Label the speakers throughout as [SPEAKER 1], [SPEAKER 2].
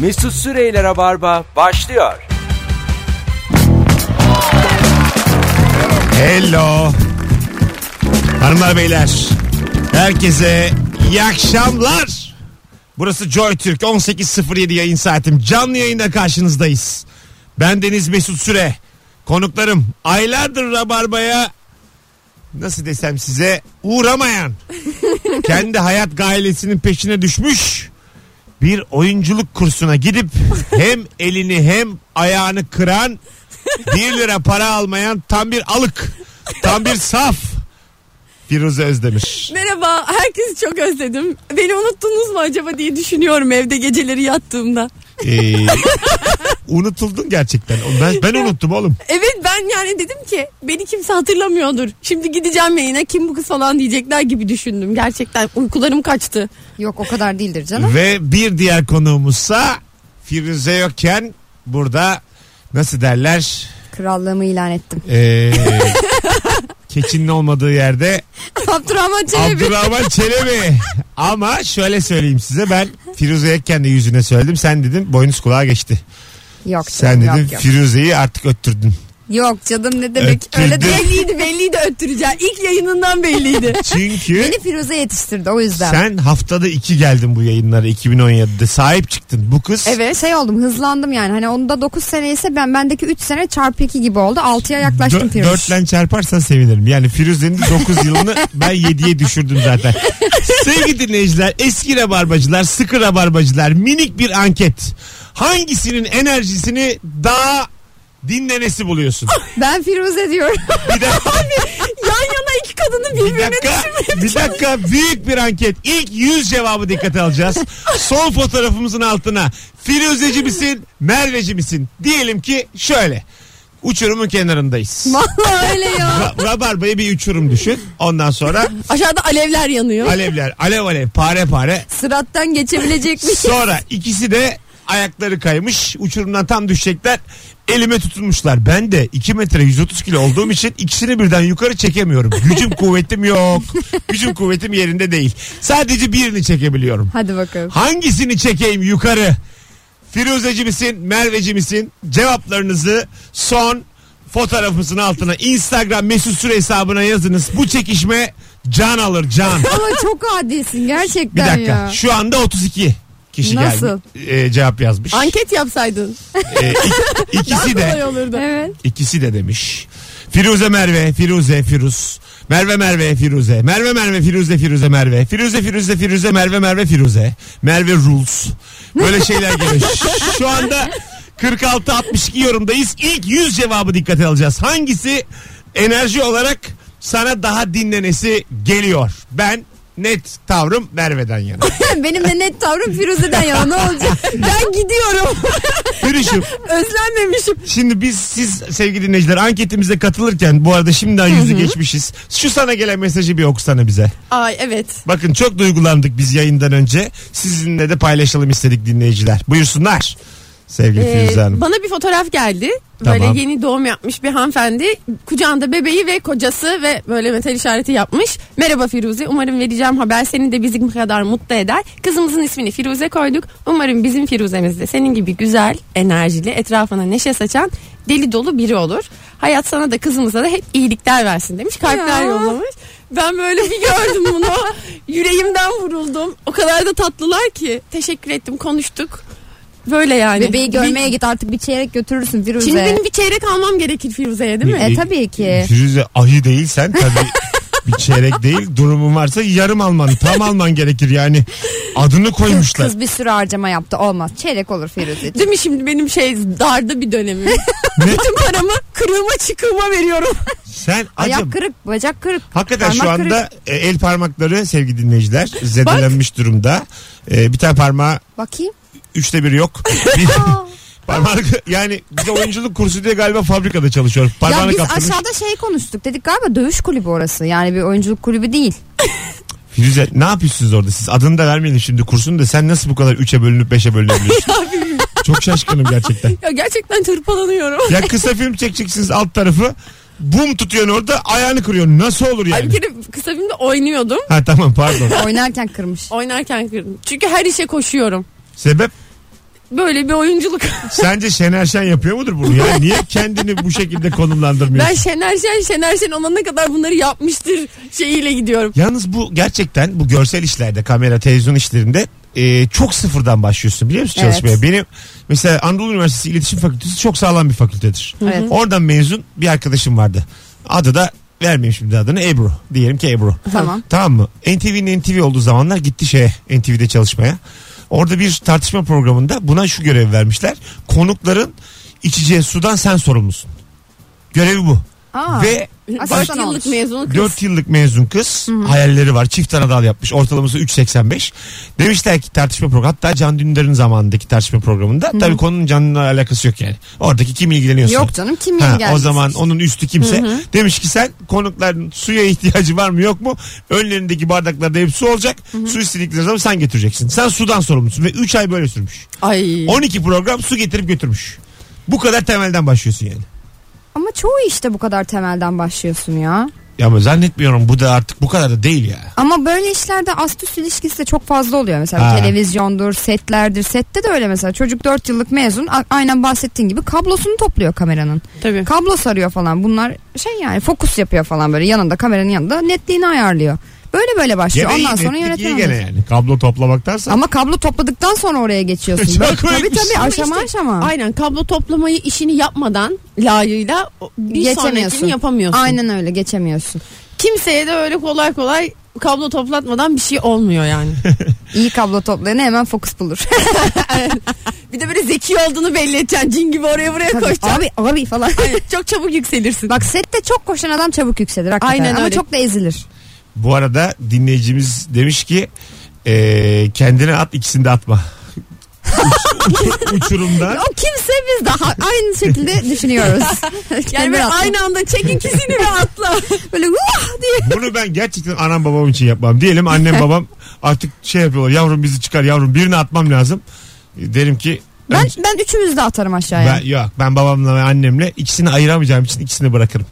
[SPEAKER 1] Mesut Süreyler'e barba başlıyor.
[SPEAKER 2] Hello. Hanımlar beyler. Herkese iyi akşamlar. Burası Joy Türk 18.07 yayın saatim. Canlı yayında karşınızdayız. Ben Deniz Mesut Süre. Konuklarım aylardır Rabarba'ya nasıl desem size uğramayan kendi hayat gailesinin peşine düşmüş bir oyunculuk kursuna gidip hem elini hem ayağını kıran 1 lira para almayan tam bir alık. Tam bir saf. Firuze Özdemir.
[SPEAKER 3] Merhaba, herkesi çok özledim. Beni unuttunuz mu acaba diye düşünüyorum evde geceleri yattığımda.
[SPEAKER 2] Ee, unutuldun gerçekten. Ben, ben unuttum oğlum.
[SPEAKER 3] Evet ben yani dedim ki beni kimse hatırlamıyordur. Şimdi gideceğim yayına kim bu kız falan diyecekler gibi düşündüm. Gerçekten uykularım kaçtı.
[SPEAKER 4] Yok o kadar değildir canım.
[SPEAKER 2] Ve bir diğer konuğumuzsa Firuze yokken burada nasıl derler
[SPEAKER 4] Krallığımı ilan ettim.
[SPEAKER 2] ee, keçinin olmadığı yerde
[SPEAKER 3] Abdurrahman Çelebi.
[SPEAKER 2] Abdurrahman Çelebi. Ama şöyle söyleyeyim size ben Firuze'ye kendi yüzüne söyledim. Sen dedim boynuz kulağa geçti.
[SPEAKER 4] Yok
[SPEAKER 2] Sen
[SPEAKER 4] canım,
[SPEAKER 2] dedim
[SPEAKER 4] yok, yok.
[SPEAKER 2] Firuze'yi artık öttürdün.
[SPEAKER 4] Yok canım ne demek.
[SPEAKER 2] Öttürdü.
[SPEAKER 4] Öyle de
[SPEAKER 3] Belliydi belliydi öttüreceğim. İlk yayınından belliydi.
[SPEAKER 2] Çünkü
[SPEAKER 4] beni Firuze yetiştirdi o yüzden.
[SPEAKER 2] Sen haftada iki geldin bu yayınlara 2017'de sahip çıktın. Bu kız
[SPEAKER 4] Evet. Şey oldum hızlandım yani. Hani onda 9 sene ise ben bendeki 3 sene çarpı 2 gibi oldu. 6'ya yaklaştım
[SPEAKER 2] dö-
[SPEAKER 4] Firuze.
[SPEAKER 2] dörtlen çarparsan sevinirim. Yani Firuze'nin 9 yılını ben 7'ye düşürdüm zaten. Sevgili dinleyiciler, eski rabarbacılar, sıkı rabarbacılar minik bir anket. Hangisinin enerjisini daha dinlenesi buluyorsun?
[SPEAKER 4] Ben Firuze diyorum.
[SPEAKER 2] Bir dakika,
[SPEAKER 3] Yan yana iki kadını
[SPEAKER 2] bir
[SPEAKER 3] birbirine
[SPEAKER 2] dakika,
[SPEAKER 3] düşürmeye
[SPEAKER 2] bir dakika büyük bir anket. İlk 100 cevabı dikkate alacağız. Son fotoğrafımızın altına Firuzeci misin, Merveci misin? Diyelim ki şöyle. Uçurumun kenarındayız.
[SPEAKER 3] Vallahi öyle ya.
[SPEAKER 2] Ra- rabarbayı bir uçurum düşün. Ondan sonra
[SPEAKER 3] Aşağıda alevler yanıyor.
[SPEAKER 2] alevler alev alev pare pare.
[SPEAKER 4] Sırattan geçebilecek mi?
[SPEAKER 2] Sonra ikisi de ayakları kaymış. Uçurumdan tam düşecekler. Elime tutulmuşlar. Ben de 2 metre 130 kilo olduğum için ikisini birden yukarı çekemiyorum. Gücüm kuvvetim yok. Gücüm kuvvetim yerinde değil. Sadece birini çekebiliyorum.
[SPEAKER 4] Hadi bakalım.
[SPEAKER 2] Hangisini çekeyim yukarı? Firuzeci misin? Merveci misin? Cevaplarınızı son fotoğrafımızın altına Instagram mesut süre hesabına yazınız. Bu çekişme can alır can.
[SPEAKER 4] Ama çok adisin
[SPEAKER 2] Bir
[SPEAKER 4] gerçekten
[SPEAKER 2] dakika.
[SPEAKER 4] ya.
[SPEAKER 2] Şu anda 32 kişi
[SPEAKER 4] Nasıl?
[SPEAKER 2] geldi. e, cevap yazmış. Ee,
[SPEAKER 3] Anket yapsaydın.
[SPEAKER 2] ikisi
[SPEAKER 3] Kolay
[SPEAKER 2] de
[SPEAKER 3] olurdu.
[SPEAKER 4] Evet.
[SPEAKER 2] ikisi de demiş. Firuze Merve, Firuze Firuz. Merve Merve Firuze. Merve Merve Firuze Firuze Merve. Firuze Firuze Firuze Merve Merve Firuze. Merve Rules. Böyle şeyler geliyor. Şu anda 46 62 yorumdayız. İlk 100 cevabı dikkate alacağız. Hangisi enerji olarak sana daha dinlenesi geliyor? Ben net tavrım Merve'den yana.
[SPEAKER 4] Benim de net tavrım Firuze'den yana ne olacak?
[SPEAKER 3] Ben gidiyorum.
[SPEAKER 2] Hürüşüm.
[SPEAKER 3] Özlenmemişim.
[SPEAKER 2] Şimdi biz siz sevgili dinleyiciler anketimize katılırken bu arada şimdiden yüzü geçmişiz. Şu sana gelen mesajı bir okusana bize.
[SPEAKER 3] Ay evet.
[SPEAKER 2] Bakın çok duygulandık biz yayından önce. Sizinle de paylaşalım istedik dinleyiciler. Buyursunlar sevgili
[SPEAKER 3] Ee,
[SPEAKER 2] Firuze Hanım.
[SPEAKER 3] bana bir fotoğraf geldi.
[SPEAKER 2] Tamam.
[SPEAKER 3] Böyle yeni doğum yapmış bir hanımefendi. Kucağında bebeği ve kocası ve böyle metal işareti yapmış. Merhaba Firuze. Umarım vereceğim haber seni de bizim kadar mutlu eder. Kızımızın ismini Firuze koyduk. Umarım bizim Firuzemiz de senin gibi güzel, enerjili, etrafına neşe saçan deli dolu biri olur. Hayat sana da kızımıza da hep iyilikler versin demiş. Kalpler
[SPEAKER 4] Ya.
[SPEAKER 3] yollamış. Ben böyle bir gördüm bunu. Yüreğimden vuruldum. O kadar da tatlılar ki. Teşekkür ettim. Konuştuk. Böyle yani.
[SPEAKER 2] Hani
[SPEAKER 4] Bebeği
[SPEAKER 3] Bir-
[SPEAKER 4] görmeye git artık bir çeyrek götürürsün Firuze.
[SPEAKER 3] Şimdi benim bir çeyrek almam gerekir Firuze'ye değil mi?
[SPEAKER 4] E tabii ki.
[SPEAKER 2] Firuze ahi değilsen tabii bir çeyrek değil durumun varsa yarım alman tam alman gerekir yani. Adını koymuşlar.
[SPEAKER 4] Kız bir sürü harcama yaptı olmaz. Çeyrek olur Firuze.
[SPEAKER 3] Değil mi şimdi benim şey darda bir dönemim. Bütün paramı kırığıma çıkığıma veriyorum.
[SPEAKER 2] Sen
[SPEAKER 4] Ayak
[SPEAKER 2] acaba
[SPEAKER 4] kırık, bacak kırık.
[SPEAKER 2] Hakikaten
[SPEAKER 4] parmak
[SPEAKER 2] şu
[SPEAKER 4] kırık.
[SPEAKER 2] anda e, el parmakları sevgili dinleyiciler zedelenmiş durumda. E, bir tane parmağı
[SPEAKER 4] Bakayım.
[SPEAKER 2] üçte bir yok. Bir- parmağını yani bir de oyunculuk kursu diye galiba fabrikada çalışıyor.
[SPEAKER 4] ya
[SPEAKER 2] Parmağını
[SPEAKER 4] biz
[SPEAKER 2] kaptırmış.
[SPEAKER 4] aşağıda şey konuştuk dedik galiba dövüş kulübü orası. Yani bir oyunculuk kulübü değil.
[SPEAKER 2] Firuze ne yapıyorsunuz orada siz? Adını da vermeyelim şimdi kursun da sen nasıl bu kadar üçe bölünüp beşe bölünebiliyorsun? Çok şaşkınım gerçekten.
[SPEAKER 3] Ya gerçekten tırpalanıyorum.
[SPEAKER 2] Ya kısa film çekeceksiniz alt tarafı. Bum tutuyorsun orada ayağını kırıyorsun. Nasıl olur
[SPEAKER 3] Ay bir
[SPEAKER 2] yani?
[SPEAKER 3] kere kısa filmde oynuyordum.
[SPEAKER 2] Ha tamam pardon.
[SPEAKER 4] Oynarken kırmış.
[SPEAKER 3] Oynarken kırdım. Çünkü her işe koşuyorum.
[SPEAKER 2] Sebep?
[SPEAKER 3] böyle bir oyunculuk.
[SPEAKER 2] Sence Şener Şen yapıyor mudur bunu? Yani niye kendini bu şekilde konumlandırmıyorsun?
[SPEAKER 3] ben Şener Şen, Şener Şen olana kadar bunları yapmıştır şeyiyle gidiyorum.
[SPEAKER 2] Yalnız bu gerçekten bu görsel işlerde kamera televizyon işlerinde e, çok sıfırdan başlıyorsun biliyor musun
[SPEAKER 4] Evet.
[SPEAKER 2] çalışmaya? Benim mesela Anadolu Üniversitesi İletişim Fakültesi çok sağlam bir fakültedir.
[SPEAKER 4] Evet.
[SPEAKER 2] Oradan mezun bir arkadaşım vardı. Adı da vermeyeyim şimdi adını Ebru. Diyelim ki Ebru.
[SPEAKER 4] Tamam.
[SPEAKER 2] Tamam mı? NTV'nin NTV olduğu zamanlar gitti şeye NTV'de çalışmaya. Orada bir tartışma programında buna şu görev vermişler. Konukların içeceği sudan sen sorumlusun. Görevi bu.
[SPEAKER 4] Aa,
[SPEAKER 2] Ve
[SPEAKER 4] Asistan
[SPEAKER 3] Dört yıllık
[SPEAKER 4] olmuş.
[SPEAKER 3] mezunu kız.
[SPEAKER 2] 4 yıllık mezun kız hayalleri var. Çift anadal yapmış. Ortalaması 3.85. Demişler ki tartışma programı hatta Can Dündar'ın zamanındaki tartışma programında tabii konunun Can'la alakası yok yani. Oradaki kim ilgileniyorsa.
[SPEAKER 4] Yok canım kim
[SPEAKER 2] Ha,
[SPEAKER 4] yeni geldi?
[SPEAKER 2] o zaman onun üstü kimse. Demiş ki sen konukların suya ihtiyacı var mı yok mu? Önlerindeki bardaklarda hep su olacak. Su istedikleri zaman sen getireceksin. Sen sudan sorumlusun ve 3 ay böyle sürmüş.
[SPEAKER 3] Ay.
[SPEAKER 2] 12 program su getirip götürmüş. Bu kadar temelden başlıyorsun yani.
[SPEAKER 4] Ama çoğu işte bu kadar temelden başlıyorsun ya.
[SPEAKER 2] Ya ama zannetmiyorum bu da artık bu kadar da değil ya.
[SPEAKER 4] Ama böyle işlerde ast üst ilişkisi de çok fazla oluyor. Mesela
[SPEAKER 2] Ha.
[SPEAKER 4] televizyondur, setlerdir. Sette de öyle mesela. Çocuk 4 yıllık mezun. a- Aynen bahsettiğin gibi kablosunu topluyor kameranın.
[SPEAKER 3] Tabii.
[SPEAKER 4] Kablo sarıyor falan. Bunlar şey yani fokus yapıyor falan böyle yanında kameranın yanında netliğini ayarlıyor. Böyle böyle başlıyor.
[SPEAKER 2] Gene
[SPEAKER 4] Ondan
[SPEAKER 2] iyi,
[SPEAKER 4] sonra
[SPEAKER 2] netlik
[SPEAKER 4] yönetmen
[SPEAKER 2] iyi gene
[SPEAKER 4] oluyor.
[SPEAKER 2] yani. Kablo toplamaktansa.
[SPEAKER 4] Ama kablo topladıktan sonra oraya geçiyorsun.
[SPEAKER 2] Çok şey.
[SPEAKER 4] Böyle, tabii
[SPEAKER 2] koymuş.
[SPEAKER 4] tabii
[SPEAKER 2] Ama
[SPEAKER 4] aşama
[SPEAKER 3] işte-
[SPEAKER 4] aşama.
[SPEAKER 3] Aynen kablo toplamayı işini yapmadan layığıyla o- bir
[SPEAKER 4] Geçemiyorsun.
[SPEAKER 3] sonrakini yapamıyorsun.
[SPEAKER 4] Aynen öyle geçemiyorsun.
[SPEAKER 3] Kimseye de öyle kolay kolay kablo toplatmadan bir şey olmuyor yani.
[SPEAKER 4] İyi kablo toplayanı hemen fokus bulur.
[SPEAKER 3] bir de böyle zeki olduğunu belli edeceksin. Cin gibi oraya buraya
[SPEAKER 4] Tabii,
[SPEAKER 3] koşacaksın.
[SPEAKER 4] abi abi falan.
[SPEAKER 3] Çok çabuk yükselirsin.
[SPEAKER 4] Bak sette çok koşan adam çabuk yükselir hakikaten.
[SPEAKER 3] Aynen
[SPEAKER 4] Ama
[SPEAKER 3] öyle.
[SPEAKER 4] çok da ezilir.
[SPEAKER 2] Bu arada dinleyicimiz demiş ki e, kendine at ikisini de atma. Uç- uç- uçurumdan.
[SPEAKER 4] O kimse biz de ha- aynı şekilde düşünüyoruz.
[SPEAKER 3] yani
[SPEAKER 4] Kendi
[SPEAKER 3] böyle
[SPEAKER 4] rahatlığı.
[SPEAKER 3] aynı anda çek ikisini ve atla.
[SPEAKER 4] böyle "Vah!" diye.
[SPEAKER 2] Bunu ben gerçekten anam babam için yapmam. Diyelim annem babam artık şey yapıyorlar. Yavrum bizi çıkar yavrum birini atmam lazım. E, Derim ki
[SPEAKER 4] Ben,
[SPEAKER 2] önce-
[SPEAKER 4] ben üçümüzü de atarım aşağıya.
[SPEAKER 2] ben, yok ben babamla ve annemle ikisini ayıramayacağım için ikisini bırakırım.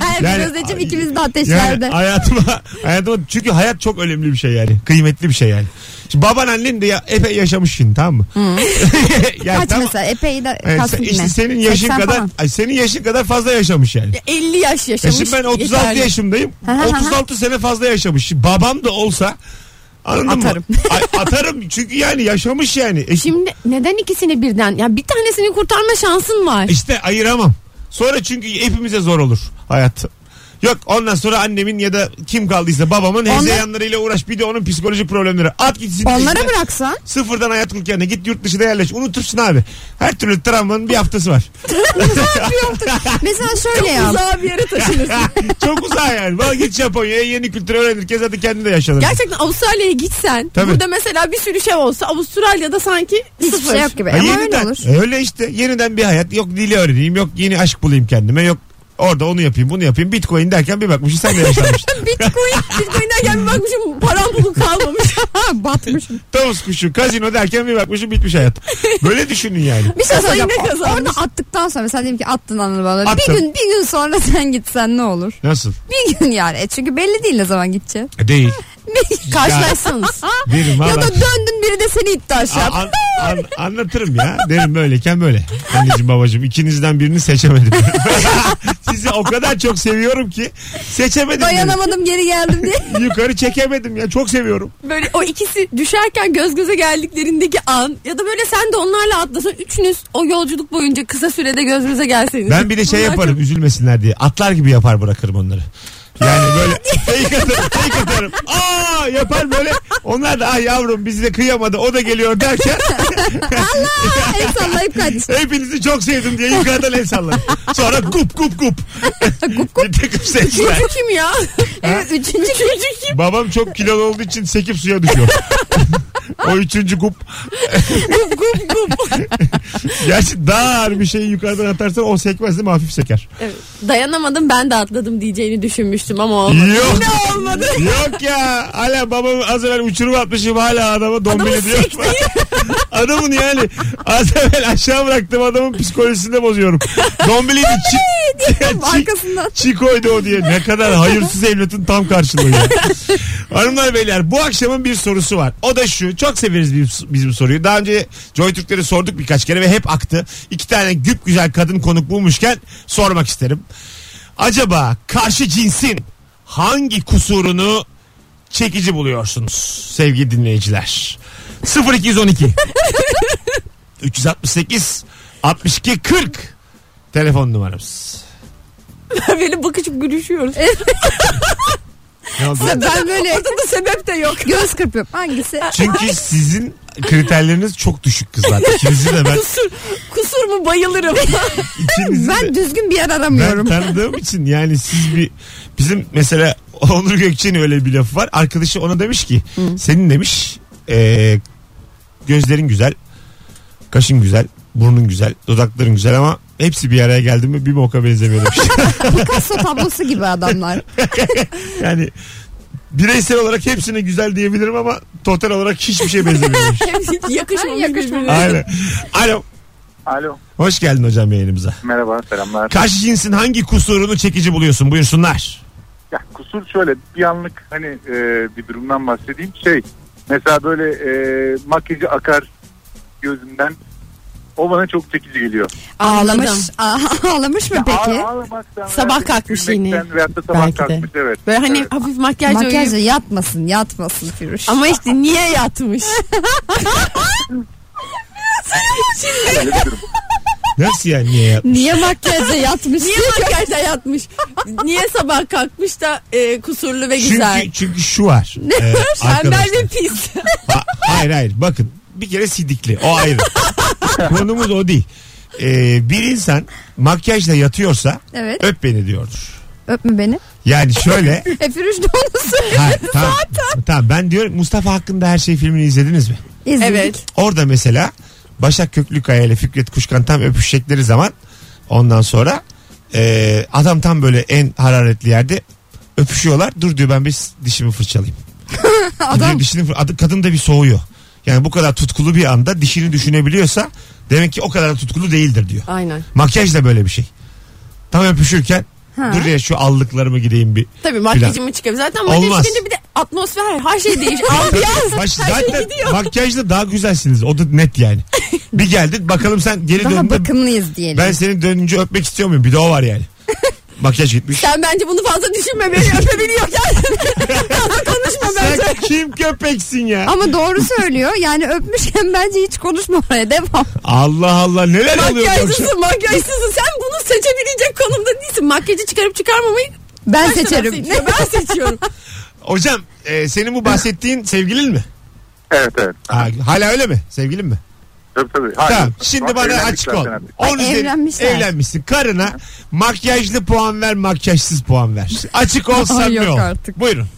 [SPEAKER 4] Her
[SPEAKER 2] Yani-
[SPEAKER 4] Gözdeciğim ikimiz de ateşlerde.
[SPEAKER 2] Yani hayatıma, hayatıma çünkü hayat çok önemli bir şey yani. Kıymetli bir şey yani. Şimdi baban annen de ya, epey yaşamış şimdi tamam mı? yani
[SPEAKER 4] Kaç
[SPEAKER 2] tam-
[SPEAKER 4] mesela epey de
[SPEAKER 2] Evet,
[SPEAKER 4] kaç
[SPEAKER 2] sen-
[SPEAKER 4] yine?
[SPEAKER 2] işte senin yaşın
[SPEAKER 4] 80
[SPEAKER 2] kadar
[SPEAKER 4] falan.
[SPEAKER 2] ay senin yaşın kadar fazla yaşamış yani.
[SPEAKER 3] 50 yaş
[SPEAKER 2] E
[SPEAKER 3] yaşamış.
[SPEAKER 2] şimdi ben 36
[SPEAKER 3] yeterli.
[SPEAKER 2] yaşındayım.
[SPEAKER 4] Ha, ha, ha.
[SPEAKER 2] 36 sene fazla yaşamış. Şimdi Babam da olsa anladın
[SPEAKER 4] Atarım.
[SPEAKER 2] mı? Ay, atarım. Çünkü yani yaşamış yani. E,
[SPEAKER 3] Şimdi neden ikisini birden? Ya bir tanesini kurtarma şansın var.
[SPEAKER 2] işte ayıramam. Sonra çünkü hepimize zor olur hayat. Yok ondan sonra annemin ya da kim kaldıysa babamın
[SPEAKER 4] Onlar-
[SPEAKER 2] hezeyanlarıyla uğraş. Bir de onun psikolojik problemleri. At gitsin.
[SPEAKER 4] Onlara
[SPEAKER 2] işte.
[SPEAKER 4] bıraksan
[SPEAKER 2] Sıfırdan hayat kur kendine. Git yurt dışına yerleş. Unutursun abi. Her türlü travmanın bir haftası var.
[SPEAKER 4] mesela şöyle yap.
[SPEAKER 3] Uzağa bir yere taşınırsın.
[SPEAKER 2] Çok uzak yani. Bana git Japonya'ya yeni kültür öğrenir. Kez hadi kendin de yaşanır.
[SPEAKER 3] Gerçekten Avustralya'ya gitsen
[SPEAKER 2] Tabii.
[SPEAKER 3] burada mesela bir sürü şey olsa Avustralya'da sanki
[SPEAKER 4] Hiçbir
[SPEAKER 3] sıfır.
[SPEAKER 4] şey yok gibi.
[SPEAKER 2] Ha,
[SPEAKER 4] Ama öyle
[SPEAKER 2] yeniden,
[SPEAKER 4] olur.
[SPEAKER 2] öyle işte yeniden bir hayat yok dili öğreneyim yok yeni aşk bulayım kendime yok orada onu yapayım bunu yapayım bitcoin derken bir bakmışsın sen de yaşanmışsın.
[SPEAKER 3] Bitcoin, Bitcoin'den gelme bakmışım param pulum kalmamış.
[SPEAKER 4] Batmış.
[SPEAKER 2] Tavus kuşu kazino derken bir bakmışsın bitmiş hayat. Böyle düşünün yani.
[SPEAKER 4] Bir şey
[SPEAKER 3] Kasayı
[SPEAKER 4] söyleyeceğim.
[SPEAKER 3] ne kazanmış?
[SPEAKER 4] Orada attıktan sonra mesela diyelim ki attın anı bana.
[SPEAKER 2] Attım.
[SPEAKER 4] Bir gün bir gün sonra sen gitsen ne olur?
[SPEAKER 2] Nasıl?
[SPEAKER 4] Bir gün yani. E çünkü belli değil ne zaman gideceği.
[SPEAKER 2] E, Değil.
[SPEAKER 4] Bir-
[SPEAKER 3] Karşılaşsanız.
[SPEAKER 2] Derim
[SPEAKER 4] ya
[SPEAKER 2] valla.
[SPEAKER 4] da döndün biri de seni iddia şey aşağı.
[SPEAKER 2] A- an- an- anlatırım ya. Derim böyleyken böyle. Anneciğim babacığım ikinizden birini seçemedim. Sizi o kadar çok seviyorum ki seçemedim. derim.
[SPEAKER 4] Dayanamadım geri geldim diye.
[SPEAKER 2] Yukarı çekemedim ya çok seviyorum.
[SPEAKER 3] Böyle o ikisi düşerken göz göze geldiklerindeki an ya da böyle sen de onlarla atlasın üçünüz o yolculuk boyunca kısa sürede göz göze gelseniz.
[SPEAKER 2] Ben bir de şey
[SPEAKER 3] Bunlar
[SPEAKER 2] yaparım üzülmesinler diye. Atlar gibi yapar bırakırım onları. Yani böyle fake atarım, fake atarım. Aa yapar böyle. Onlar da ah yavrum bizi de kıyamadı o da geliyor derken
[SPEAKER 4] Aa, El sallayıp kaç.
[SPEAKER 2] hepinizi çok sevdim diye yukarıdan el sallarım. Sonra gup gup gup. gup gup. Bir takım
[SPEAKER 3] çok-
[SPEAKER 2] sesler.
[SPEAKER 3] Üçüncü kim ya?
[SPEAKER 4] Evet, üçüncü
[SPEAKER 3] Üçüncü kim?
[SPEAKER 2] Babam çok kilolu olduğu için sekip suya düşüyor. o üçüncü gup.
[SPEAKER 3] Gup gup.
[SPEAKER 2] Gerçi daha ağır bir şeyi yukarıdan atarsan o sekmez değil mi? Hafif seker.
[SPEAKER 3] Evet. Dayanamadım ben de atladım diyeceğini düşünmüştüm ama olmadı.
[SPEAKER 2] Yok.
[SPEAKER 3] Ne olmadı?
[SPEAKER 2] Yok ya. Hala babam az evvel uçurum atmışım hala adama
[SPEAKER 3] Adamı
[SPEAKER 2] dombili diyor.
[SPEAKER 3] sekti.
[SPEAKER 2] Adamın yani az evvel aşağı bıraktım adamın psikolojisini de bozuyorum. Dombiliydi çi,
[SPEAKER 4] Arkasından.
[SPEAKER 2] çi koydu o diye. Ne kadar hayırsız evlatın tam karşılığı. ya. Hanımlar beyler bu akşamın bir sorusu var. O da şu. Çok severiz biz- bizim soruyu. Daha önce Joytürk'lere sorduk birkaç kere ve hep aktı. İki tane güp güzel kadın konuk bulmuşken sormak isterim. Acaba karşı cinsin hangi kusurunu çekici buluyorsunuz sevgili dinleyiciler? 0212 368 62 40 telefon numaramız.
[SPEAKER 3] Böyle bakışıp gülüşüyoruz.
[SPEAKER 2] Ne oldu?
[SPEAKER 4] Ben böyle
[SPEAKER 3] Ortada sebep de yok.
[SPEAKER 4] göz kırpıyorum. Hangisi?
[SPEAKER 2] Çünkü sizin kriterleriniz çok düşük kızlar. İkinizi de ben
[SPEAKER 3] Kusur, kusur mu bayılırım.
[SPEAKER 2] ikinizi de
[SPEAKER 4] Ben düzgün bir yer
[SPEAKER 2] ben
[SPEAKER 4] aramıyorum.
[SPEAKER 2] tanıdığım için yani siz bir bizim mesela Onur Gökçe'nin öyle bir lafı var. Arkadaşı ona demiş ki senin demiş e, gözlerin güzel, kaşın güzel, burnun güzel, dudakların güzel ama hepsi bir araya geldi mi bir boka benzemiyor demiş.
[SPEAKER 4] Picasso tablosu gibi adamlar.
[SPEAKER 2] yani bireysel olarak hepsine güzel diyebilirim ama total olarak hiçbir şey benzemiyor demiş.
[SPEAKER 3] Yakışmamış
[SPEAKER 4] Yakışmamış.
[SPEAKER 3] birbirine.
[SPEAKER 2] Aynen. Alo.
[SPEAKER 5] Alo.
[SPEAKER 2] Hoş geldin hocam yayınımıza.
[SPEAKER 5] Merhaba selamlar.
[SPEAKER 2] Karşı cinsin hangi kusurunu çekici buluyorsun? Buyursunlar.
[SPEAKER 5] Ya, kusur şöyle bir anlık hani e, bir durumdan bahsedeyim. Şey mesela böyle e, makyajı akar gözünden o bana çok çekici geliyor.
[SPEAKER 4] Ağlamış. Aa- Ağlamış mı peki?
[SPEAKER 5] Ağ- ağlamaktan
[SPEAKER 3] Sabah
[SPEAKER 5] veya
[SPEAKER 3] kalkmış
[SPEAKER 5] gülmekten
[SPEAKER 3] yine.
[SPEAKER 5] Veyahut da sabah
[SPEAKER 3] Belki de.
[SPEAKER 5] kalkmış evet.
[SPEAKER 3] Böyle hani
[SPEAKER 5] Evet.
[SPEAKER 3] hafif makyaj
[SPEAKER 4] Makyajla yatmasın yatmasın Firuş.
[SPEAKER 3] Ama işte niye yatmış?
[SPEAKER 5] Öyle bir durum.
[SPEAKER 2] Nasıl yani niye yapmış?
[SPEAKER 4] Niye makyajla yatmış?
[SPEAKER 3] niye makyajda yatmış? Niye sabah kalkmış da e, kusurlu ve güzel?
[SPEAKER 2] Çünkü, çünkü şu var. Ee, arkadaşlar.
[SPEAKER 3] Tembel ve pis.
[SPEAKER 2] Ha- hayır hayır bakın bir kere sidikli o ayrı. Konumuz o değil. Ee, bir insan makyajla yatıyorsa
[SPEAKER 4] Evet.
[SPEAKER 2] öp beni diyordur.
[SPEAKER 4] Öpme beni.
[SPEAKER 2] Yani şöyle.
[SPEAKER 4] E Firuş ne onu söylüyor?
[SPEAKER 2] ha, tamam, tamam ben diyorum Mustafa hakkında her şey filmini izlediniz mi?
[SPEAKER 4] İzledik.
[SPEAKER 3] evet.
[SPEAKER 2] Orada mesela Başak Köklükaya ile Fikret Kuşkan tam öpüşecekleri zaman ondan sonra e, adam tam böyle en hararetli yerde öpüşüyorlar. Dur diyor ben bir dişimi fırçalayayım. Adam...
[SPEAKER 4] Adam
[SPEAKER 2] Dişini fır- adı- kadın da bir soğuyor. Yani bu kadar tutkulu bir anda dişini düşünebiliyorsa demek ki o kadar da tutkulu değildir diyor.
[SPEAKER 3] Aynen.
[SPEAKER 2] Makyaj da böyle bir şey. Tam öpüşürken
[SPEAKER 4] Ha.
[SPEAKER 2] dur ya şu allıklarımı gideyim bir.
[SPEAKER 3] Tabii makyajımı çıkıyor. Zaten
[SPEAKER 2] Olmaz.
[SPEAKER 3] makyaj çıkınca bir de atmosfer her şey değişiyor. Ambiyans.
[SPEAKER 2] Baş,
[SPEAKER 4] şey
[SPEAKER 2] zaten makyajla daha güzelsiniz. O da net yani. bir geldik bakalım sen geri
[SPEAKER 4] daha
[SPEAKER 2] döndün.
[SPEAKER 4] bakımlıyız diyelim.
[SPEAKER 2] Ben seni dönünce öpmek istiyor muyum? Bir de o var yani. Makyaj gitmiş.
[SPEAKER 3] Sen bence bunu fazla düşünme. Beni öpebiliyor. Fazla konuşma bence.
[SPEAKER 2] Sen kim köpeksin ya?
[SPEAKER 4] Ama doğru söylüyor. Yani öpmüşken bence hiç konuşma oraya. Devam.
[SPEAKER 2] Allah Allah neler oluyor bu akşam?
[SPEAKER 3] Makyajsızsın makyajsızsın. Sen bunu seçebilecek konumda değilsin. Makyajı çıkarıp çıkarmamayı
[SPEAKER 4] Ben
[SPEAKER 3] başkaları
[SPEAKER 4] seçerim.
[SPEAKER 3] seçiyor. Ben seçiyorum.
[SPEAKER 2] Hocam e, senin bu bahsettiğin sevgilin mi?
[SPEAKER 5] Evet evet.
[SPEAKER 2] Ha, hala öyle mi? Sevgilin mi?
[SPEAKER 5] Tabii tabii.
[SPEAKER 2] Tamam.
[SPEAKER 5] Hayır.
[SPEAKER 2] Şimdi
[SPEAKER 5] Bak,
[SPEAKER 2] bana
[SPEAKER 5] evlendik
[SPEAKER 2] açık ol.
[SPEAKER 5] zaten artık.
[SPEAKER 2] On
[SPEAKER 4] Ay,
[SPEAKER 2] üzeri-
[SPEAKER 4] evlenmişler.
[SPEAKER 2] Evlenmişsin. Karına makyajlı puan ver, makyajsız puan ver. Açık ol, samimi
[SPEAKER 4] yok
[SPEAKER 2] ol.
[SPEAKER 4] artık.
[SPEAKER 2] Buyurun.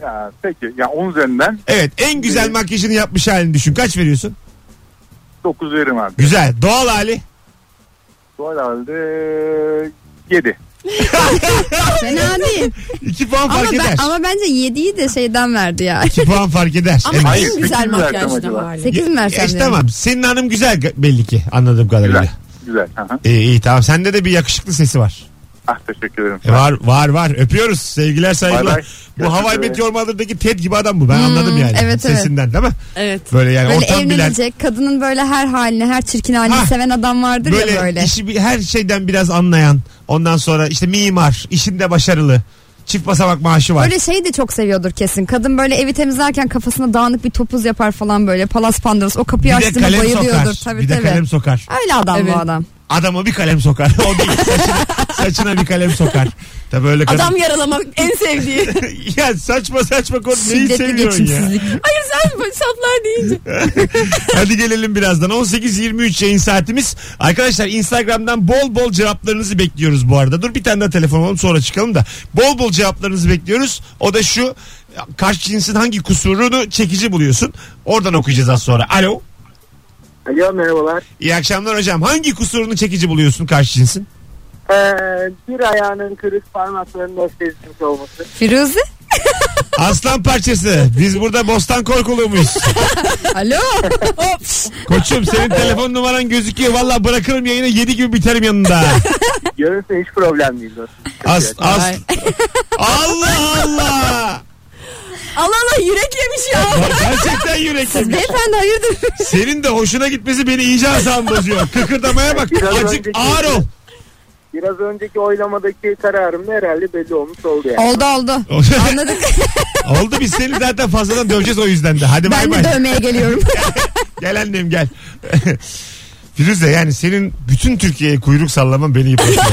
[SPEAKER 5] Ya, peki ya 10 üzerinden
[SPEAKER 2] Evet, en güzel
[SPEAKER 5] Evet.
[SPEAKER 2] makyajını yapmış halini düşün. Kaç veriyorsun?
[SPEAKER 5] 9 veririm abi.
[SPEAKER 2] Güzel. Doğal hali.
[SPEAKER 5] Bu halde 7.
[SPEAKER 4] Fena değil.
[SPEAKER 2] 2 puan
[SPEAKER 4] ama,
[SPEAKER 2] fark
[SPEAKER 4] ben,
[SPEAKER 2] eder.
[SPEAKER 4] ama bence 7'yi de şeyden verdi ya.
[SPEAKER 2] 2 puan fark eder.
[SPEAKER 3] Ama
[SPEAKER 2] Evet.
[SPEAKER 5] Hayır,
[SPEAKER 3] en
[SPEAKER 5] sekiz
[SPEAKER 3] güzel
[SPEAKER 5] mi versem
[SPEAKER 3] makyaj da
[SPEAKER 5] acaba?
[SPEAKER 3] var.
[SPEAKER 4] Sekiz mi versem
[SPEAKER 2] Ya işte
[SPEAKER 4] dedim.
[SPEAKER 2] tamam. Senin hanım güzel ga- belli ki anladığım kadarıyla.
[SPEAKER 5] Güzel. Güzel. Aha.
[SPEAKER 2] İyi, iyi tamam. Sende de bir yakışıklı sesi var.
[SPEAKER 5] Ah teşekkür ederim.
[SPEAKER 2] E, var var var. Öpüyoruz. Sevgiler saygılar.
[SPEAKER 5] Bay bay.
[SPEAKER 2] Bu Hawaii
[SPEAKER 5] Görüşürüz.
[SPEAKER 2] Meteor Mother'daki Ted gibi adam bu. Ben anladım yani.
[SPEAKER 4] Hmm, evet, evet.
[SPEAKER 2] Sesinden değil mi?
[SPEAKER 3] Evet.
[SPEAKER 2] Böyle yani
[SPEAKER 4] Böyle
[SPEAKER 2] ortam bilen.
[SPEAKER 4] evlenecek. Kadının böyle her halini, her çirkin halini
[SPEAKER 2] Ha.
[SPEAKER 4] seven adam vardır
[SPEAKER 2] Böyle,
[SPEAKER 4] ya böyle.
[SPEAKER 2] işi bi- her şeyden biraz anlayan. Ondan sonra işte mimar, işinde başarılı. Çift basamak maaşı var.
[SPEAKER 4] Böyle şeyi de çok seviyordur kesin. Kadın böyle evi temizlerken kafasına dağınık bir topuz yapar falan böyle. Palas pandırız. O kapıyı
[SPEAKER 2] bir de
[SPEAKER 4] açtığında
[SPEAKER 2] kalem
[SPEAKER 4] bayılıyordur.
[SPEAKER 2] sokar.
[SPEAKER 4] Tabii
[SPEAKER 2] bir de
[SPEAKER 4] tabii.
[SPEAKER 2] kalem sokar.
[SPEAKER 4] Öyle adam
[SPEAKER 3] Evet.
[SPEAKER 4] bu adam.
[SPEAKER 2] Adama bir kalem sokar. O değil. Saçına, saçına bir kalem sokar. Tabii öyle kadın.
[SPEAKER 3] Adam yaralamak en sevdiği.
[SPEAKER 2] ya saçma saçma konu neyi
[SPEAKER 4] Şiddetli
[SPEAKER 2] seviyorsun ya?
[SPEAKER 4] geçimsizlik.
[SPEAKER 3] Hayır sen bu saplar deyince.
[SPEAKER 2] Hadi gelelim birazdan. 18.23 yayın saatimiz. Arkadaşlar Instagram'dan bol bol cevaplarınızı bekliyoruz bu arada. Dur bir tane daha telefon alalım sonra çıkalım da. Bol bol cevaplarınızı bekliyoruz. O da şu. Karşı cinsin hangi kusurunu çekici buluyorsun? Oradan okuyacağız az sonra. Alo.
[SPEAKER 6] Alo merhabalar.
[SPEAKER 2] İyi akşamlar hocam. Hangi kusurunu çekici buluyorsun karşı cinsin?
[SPEAKER 6] Ee, bir ayağının kırık parmaklarında sezilmiş olması.
[SPEAKER 4] Firuze?
[SPEAKER 2] Aslan parçası. Biz burada bostan korkuluğu muyuz?
[SPEAKER 4] Alo?
[SPEAKER 2] Koçum senin telefon numaran gözüküyor. Valla bırakırım yayını 7 gibi biterim yanında.
[SPEAKER 6] Görünse hiç problem değil dostum.
[SPEAKER 2] As, as.
[SPEAKER 4] Ay.
[SPEAKER 2] Allah Allah.
[SPEAKER 3] Allah Allah yürek yemiş ya.
[SPEAKER 2] Gerçekten yürek yemiş.
[SPEAKER 4] Beyefendi hayırdır?
[SPEAKER 2] Senin de hoşuna gitmesi beni iyice asam bozuyor. Kıkırdamaya bak.
[SPEAKER 6] Biraz
[SPEAKER 2] Acık
[SPEAKER 6] önceki-
[SPEAKER 2] ağır ol.
[SPEAKER 6] Biraz önceki oylamadaki kararım da herhalde belli olmuş oldu yani.
[SPEAKER 4] oldu oldu. Anladık.
[SPEAKER 2] Oldu biz seni zaten fazladan döveceğiz o yüzden de. Hadi bay
[SPEAKER 4] ben
[SPEAKER 2] bay.
[SPEAKER 4] de dövmeye geliyorum.
[SPEAKER 2] Gel annem gel. Firuze yani senin bütün Türkiye'ye kuyruk sallaman beni yıpratıyor.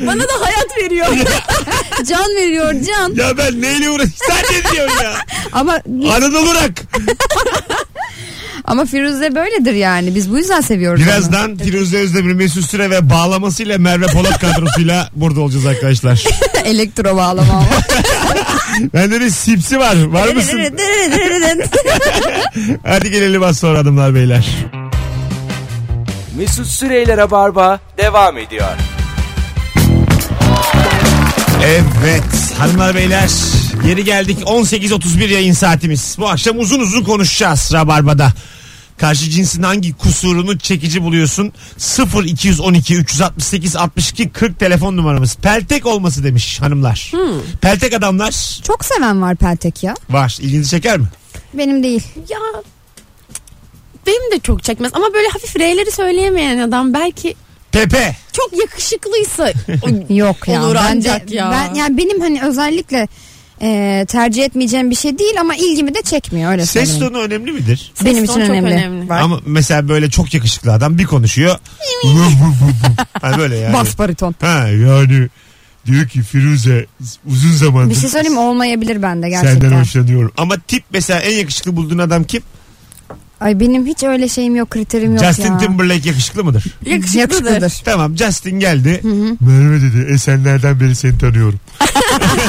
[SPEAKER 3] Bana da hayat veriyor.
[SPEAKER 4] can veriyor can.
[SPEAKER 2] ya ben neyle uğraş? Sen ne diyorsun ya?
[SPEAKER 4] Ama
[SPEAKER 2] Anadolu rak.
[SPEAKER 4] ama Firuze böyledir yani. Biz bu yüzden seviyoruz. onu.
[SPEAKER 2] Birazdan Firuze Özdemir Mesut Süre ve bağlamasıyla Merve Polat kadrosuyla burada olacağız arkadaşlar.
[SPEAKER 4] elektro bağlama ama.
[SPEAKER 2] Bende de sipsi var. Var mısın? Hadi gelelim az sonra adımlar beyler.
[SPEAKER 1] Mesut Süreyler'e barba devam ediyor.
[SPEAKER 2] Evet hanımlar beyler geri geldik 18.31 yayın saatimiz. Bu akşam uzun uzun konuşacağız Rabarba'da. Karşı cinsin hangi kusurunu çekici buluyorsun? 0 212 368 62 40 telefon numaramız. Peltek olması demiş hanımlar.
[SPEAKER 4] Hmm.
[SPEAKER 2] Peltek adamlar
[SPEAKER 4] Çok seven var Peltek ya.
[SPEAKER 2] var. İlginizi çeker mi?
[SPEAKER 4] Benim değil.
[SPEAKER 3] ya benim de çok çekmez ama böyle hafif R'leri söyleyemeyen adam belki
[SPEAKER 2] Pepe.
[SPEAKER 3] çok yakışıklıysa
[SPEAKER 4] Yok ya.
[SPEAKER 3] Olur
[SPEAKER 4] ben
[SPEAKER 3] ancak ya.
[SPEAKER 4] Ben, yani benim hani özellikle e, tercih etmeyeceğim bir şey değil ama ilgimi de çekmiyor öyle
[SPEAKER 2] Ses
[SPEAKER 4] söyleyeyim.
[SPEAKER 2] tonu önemli midir?
[SPEAKER 3] Ses
[SPEAKER 4] Benim
[SPEAKER 3] tonu
[SPEAKER 4] için
[SPEAKER 3] çok
[SPEAKER 4] önemli.
[SPEAKER 3] önemli.
[SPEAKER 4] Var.
[SPEAKER 2] Ama mesela böyle çok yakışıklı adam bir konuşuyor. ha böyle yani.
[SPEAKER 4] Bas bariton.
[SPEAKER 2] Ha yani diyor ki Firuze uzun zamandır
[SPEAKER 4] Bir şey söyleyeyim mi? olmayabilir bende gerçekten.
[SPEAKER 2] senden hoşlanıyorum. Ama tip mesela en yakışıklı bulduğun adam kim?
[SPEAKER 4] Ay benim hiç öyle şeyim yok kriterim yok
[SPEAKER 2] Justin
[SPEAKER 4] ya.
[SPEAKER 2] Timberlake yakışıklı mıdır?
[SPEAKER 3] yakışıklıdır.
[SPEAKER 4] Yakışıklıdır.
[SPEAKER 2] tamam Justin geldi. Merve dedi Esenler'den beri seni tanıyorum.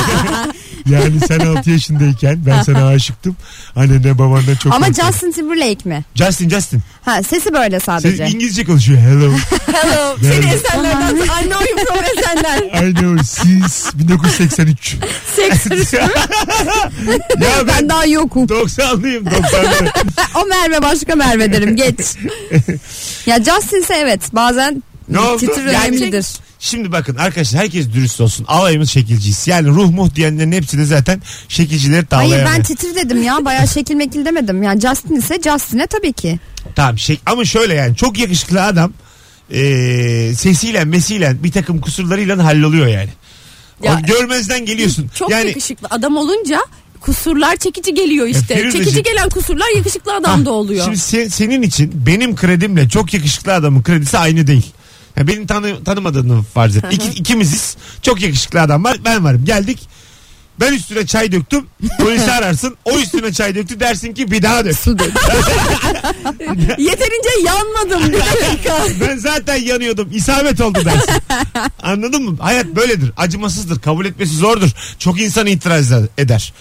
[SPEAKER 2] yani sen 6 yaşındayken ben sana aşıktım. Annenle babanla çok
[SPEAKER 4] Ama
[SPEAKER 2] korkuyorum.
[SPEAKER 4] Justin Timberlake mi?
[SPEAKER 2] Justin Justin.
[SPEAKER 4] Ha sesi böyle
[SPEAKER 2] Sen
[SPEAKER 4] sadece.
[SPEAKER 2] İngilizce konuşuyor. Hello.
[SPEAKER 3] Hello. Seni esenlerden I know you from esenler.
[SPEAKER 2] I know sis 1983. ya ben
[SPEAKER 4] Ben daha yokum.
[SPEAKER 2] 90'lıyım 90'lı.
[SPEAKER 4] o Merve başka Merve derim geç. ya Justin ise evet bazen
[SPEAKER 2] Ne oldu?
[SPEAKER 4] titri
[SPEAKER 2] Yani-
[SPEAKER 4] önemlidir.
[SPEAKER 2] Şimdi bakın arkadaşlar herkes dürüst olsun. Alayımız şekilciyiz. Yani ruh muh diyenlerin hepsini zaten şekilcileri
[SPEAKER 4] Hayır
[SPEAKER 2] tavlayamıyor.
[SPEAKER 4] ben titri dedim ya bayağı şekil mekil demedim. Yani Justin ise Justin'e tabii ki.
[SPEAKER 2] Tamam şey ama şöyle yani çok yakışıklı adam eee sesiyle mesiyle bir takım kusurlarıyla halloluyor yani.
[SPEAKER 3] Ya-
[SPEAKER 2] Onu görmezden geliyorsun.
[SPEAKER 3] Çok
[SPEAKER 2] yani
[SPEAKER 3] yakışıklı adam olunca kusurlar çekici geliyor işte.
[SPEAKER 2] Firuze
[SPEAKER 3] çekici
[SPEAKER 2] şimdi-
[SPEAKER 3] gelen kusurlar yakışıklı adamda
[SPEAKER 2] Hah,
[SPEAKER 3] oluyor.
[SPEAKER 2] Ah, Şimdi se- senin için benim kredimle çok yakışıklı adamın kredisi aynı değil. Yani benim tanı- tanımadığını farz et. İki, ikimiziz. Çok yakışıklı adam var. Ben varım. Geldik. Ben üstüne çay döktüm. Polisi ararsın. O üstüne çay döktü. Dersin ki bir daha dök.
[SPEAKER 4] Su dedi.
[SPEAKER 3] Yeterince yanmadım bir dakika.
[SPEAKER 2] Ben zaten yanıyordum. İsabet oldu dersin. Anladın mı? Hayat böyledir. Acımasızdır. Kabul etmesi zordur. Çok insan itiraz eder.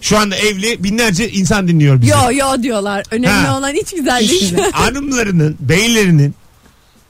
[SPEAKER 2] Şu anda evli binlerce insan dinliyor bizi.
[SPEAKER 3] yo yo diyorlar. Önemli
[SPEAKER 2] Ha.
[SPEAKER 3] olan hiç güzel değil.
[SPEAKER 2] İşte hanımlarının, beylerinin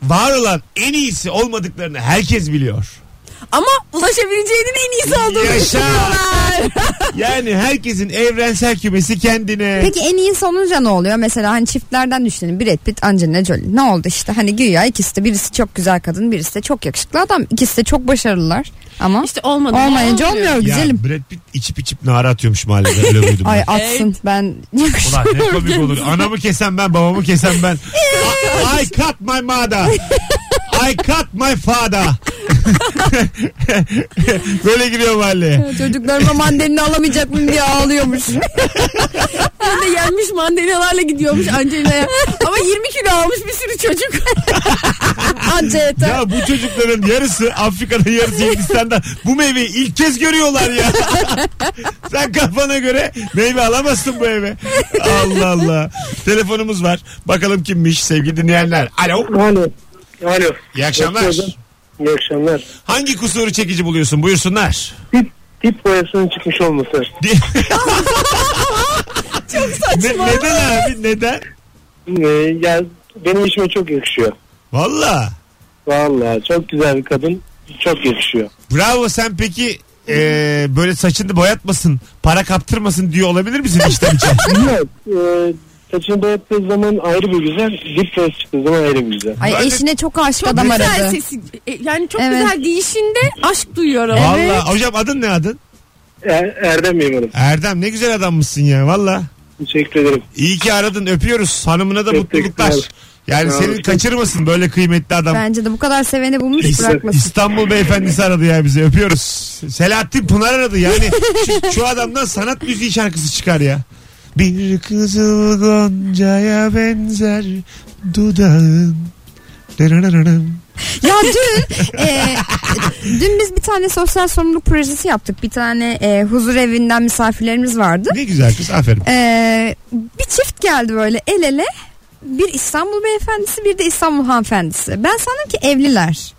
[SPEAKER 2] var olan en iyisi olmadıklarını herkes biliyor.
[SPEAKER 3] Ama ulaşabileceğinin en iyisi olduğunu
[SPEAKER 2] Yaşa.
[SPEAKER 3] düşünüyorlar.
[SPEAKER 2] Yani herkesin evrensel kümesi kendine.
[SPEAKER 4] Peki en iyisi olunca ne oluyor? Mesela hani çiftlerden düşünelim. Brad Pitt, Angelina Jolie. Ne oldu işte? Hani güya ikisi de birisi çok güzel kadın, birisi de çok yakışıklı adam. İkisi de çok başarılılar. Ama
[SPEAKER 3] işte olmadı.
[SPEAKER 4] olmayınca olmuyor
[SPEAKER 2] ya
[SPEAKER 4] güzelim.
[SPEAKER 2] Brad Pitt içip içip nara atıyormuş mahallede. Öyle duydum
[SPEAKER 4] Ay
[SPEAKER 2] ben.
[SPEAKER 4] atsın ben
[SPEAKER 2] Ulan ne komik olur. Anamı kesen ben, babamı kesen ben. I, I cut my mother. I cut my father. Böyle giriyor mahalleye.
[SPEAKER 4] Çocuklarıma mandalini alamayacak mıyım diye ağlıyormuş.
[SPEAKER 3] Bir de yenmiş mandalyalarla gidiyormuş Angelina'ya. Ama 20 kilo almış bir sürü çocuk.
[SPEAKER 4] Anca yeter.
[SPEAKER 2] Ya bu çocukların yarısı Afrika'da yarısı Hindistan'da bu meyveyi ilk kez görüyorlar ya. Sen kafana göre meyve alamazsın bu eve. Allah Allah. Telefonumuz var. Bakalım kimmiş sevgili dinleyenler. Alo.
[SPEAKER 6] Alo. Alo.
[SPEAKER 2] İyi akşamlar.
[SPEAKER 6] Nasılsın? İyi akşamlar.
[SPEAKER 2] Hangi kusuru çekici buluyorsun? Buyursunlar.
[SPEAKER 6] Tip, tip boyasının çıkmış olması.
[SPEAKER 2] Çok saçma. neden abi neden?
[SPEAKER 6] Ee, yani benim işime çok yakışıyor.
[SPEAKER 2] Valla.
[SPEAKER 6] Vallahi çok güzel bir kadın. Çok yakışıyor.
[SPEAKER 2] Bravo sen peki e, böyle saçını boyatmasın, para kaptırmasın diyor olabilir misin işten içe?
[SPEAKER 6] Evet. E, saçını boyattığı zaman ayrı bir güzel. Dip ses çıktığı zaman ayrı bir güzel.
[SPEAKER 4] Ay
[SPEAKER 2] Ben-
[SPEAKER 4] eşine çok aşık
[SPEAKER 3] Çok
[SPEAKER 4] adam
[SPEAKER 3] güzel
[SPEAKER 4] aradı.
[SPEAKER 3] sesi. e, Yani çok
[SPEAKER 4] Evet.
[SPEAKER 3] güzel deyişinde aşk duyuyorum.
[SPEAKER 2] Valla hocam adın ne adın?
[SPEAKER 6] Er, Erdem Mimarım.
[SPEAKER 2] Erdem ne güzel adammışsın ya valla.
[SPEAKER 6] Teşekkür ederim.
[SPEAKER 2] İyi ki aradın öpüyoruz. Hanımına da
[SPEAKER 6] Çok
[SPEAKER 2] mutluluklar.
[SPEAKER 6] teşekkür
[SPEAKER 2] Yani
[SPEAKER 6] Sağ
[SPEAKER 2] seni
[SPEAKER 6] olun.
[SPEAKER 2] kaçırmasın böyle kıymetli adam.
[SPEAKER 4] Bence de bu kadar seveni bulmuş
[SPEAKER 2] İs-
[SPEAKER 4] bırakmasın.
[SPEAKER 2] İstanbul beyefendisi aradı ya bizi öpüyoruz. Selahattin Pınar aradı yani şu, şu adamdan sanat müziği şarkısı çıkar ya. Bir kızıl goncaya benzer dudağın. Dırırırırım.
[SPEAKER 4] ya dün e, dün biz bir tane sosyal sorumluluk projesi yaptık. Bir tane e, huzur evinden misafirlerimiz vardı.
[SPEAKER 2] Ne güzel kız aferin.
[SPEAKER 4] E, bir çift geldi böyle el ele. Bir İstanbul beyefendisi bir de İstanbul hanımefendisi. Ben sandım ki evliler.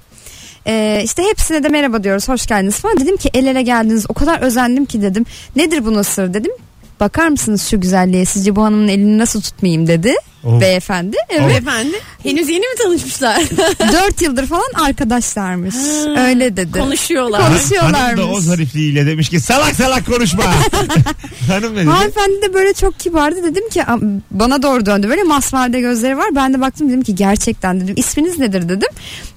[SPEAKER 4] E, işte hepsine de merhaba diyoruz hoş geldiniz falan. Dedim ki el ele geldiniz o kadar özendim ki dedim. Nedir bu sır dedim. Bakar mısınız şu güzelliğe sizce bu hanımın elini nasıl tutmayayım dedi
[SPEAKER 2] Oh.
[SPEAKER 4] beyefendi. Evet.
[SPEAKER 3] Beyefendi henüz yeni mi tanışmışlar?
[SPEAKER 4] 4 yıldır falan arkadaşlarmış.
[SPEAKER 3] Ha.
[SPEAKER 4] Öyle dedi.
[SPEAKER 3] Konuşuyorlar.
[SPEAKER 4] Konuş-
[SPEAKER 2] Hanım da o
[SPEAKER 4] konuşuyorlarmış.
[SPEAKER 2] zarifliğiyle demiş ki salak salak konuşma. Hanım ne dedi?
[SPEAKER 4] Hanımefendi de böyle çok kibardı dedim ki "Am- bana doğru döndü böyle masmaerde gözleri var ben de baktım dedim ki gerçekten dedim isminiz nedir dedim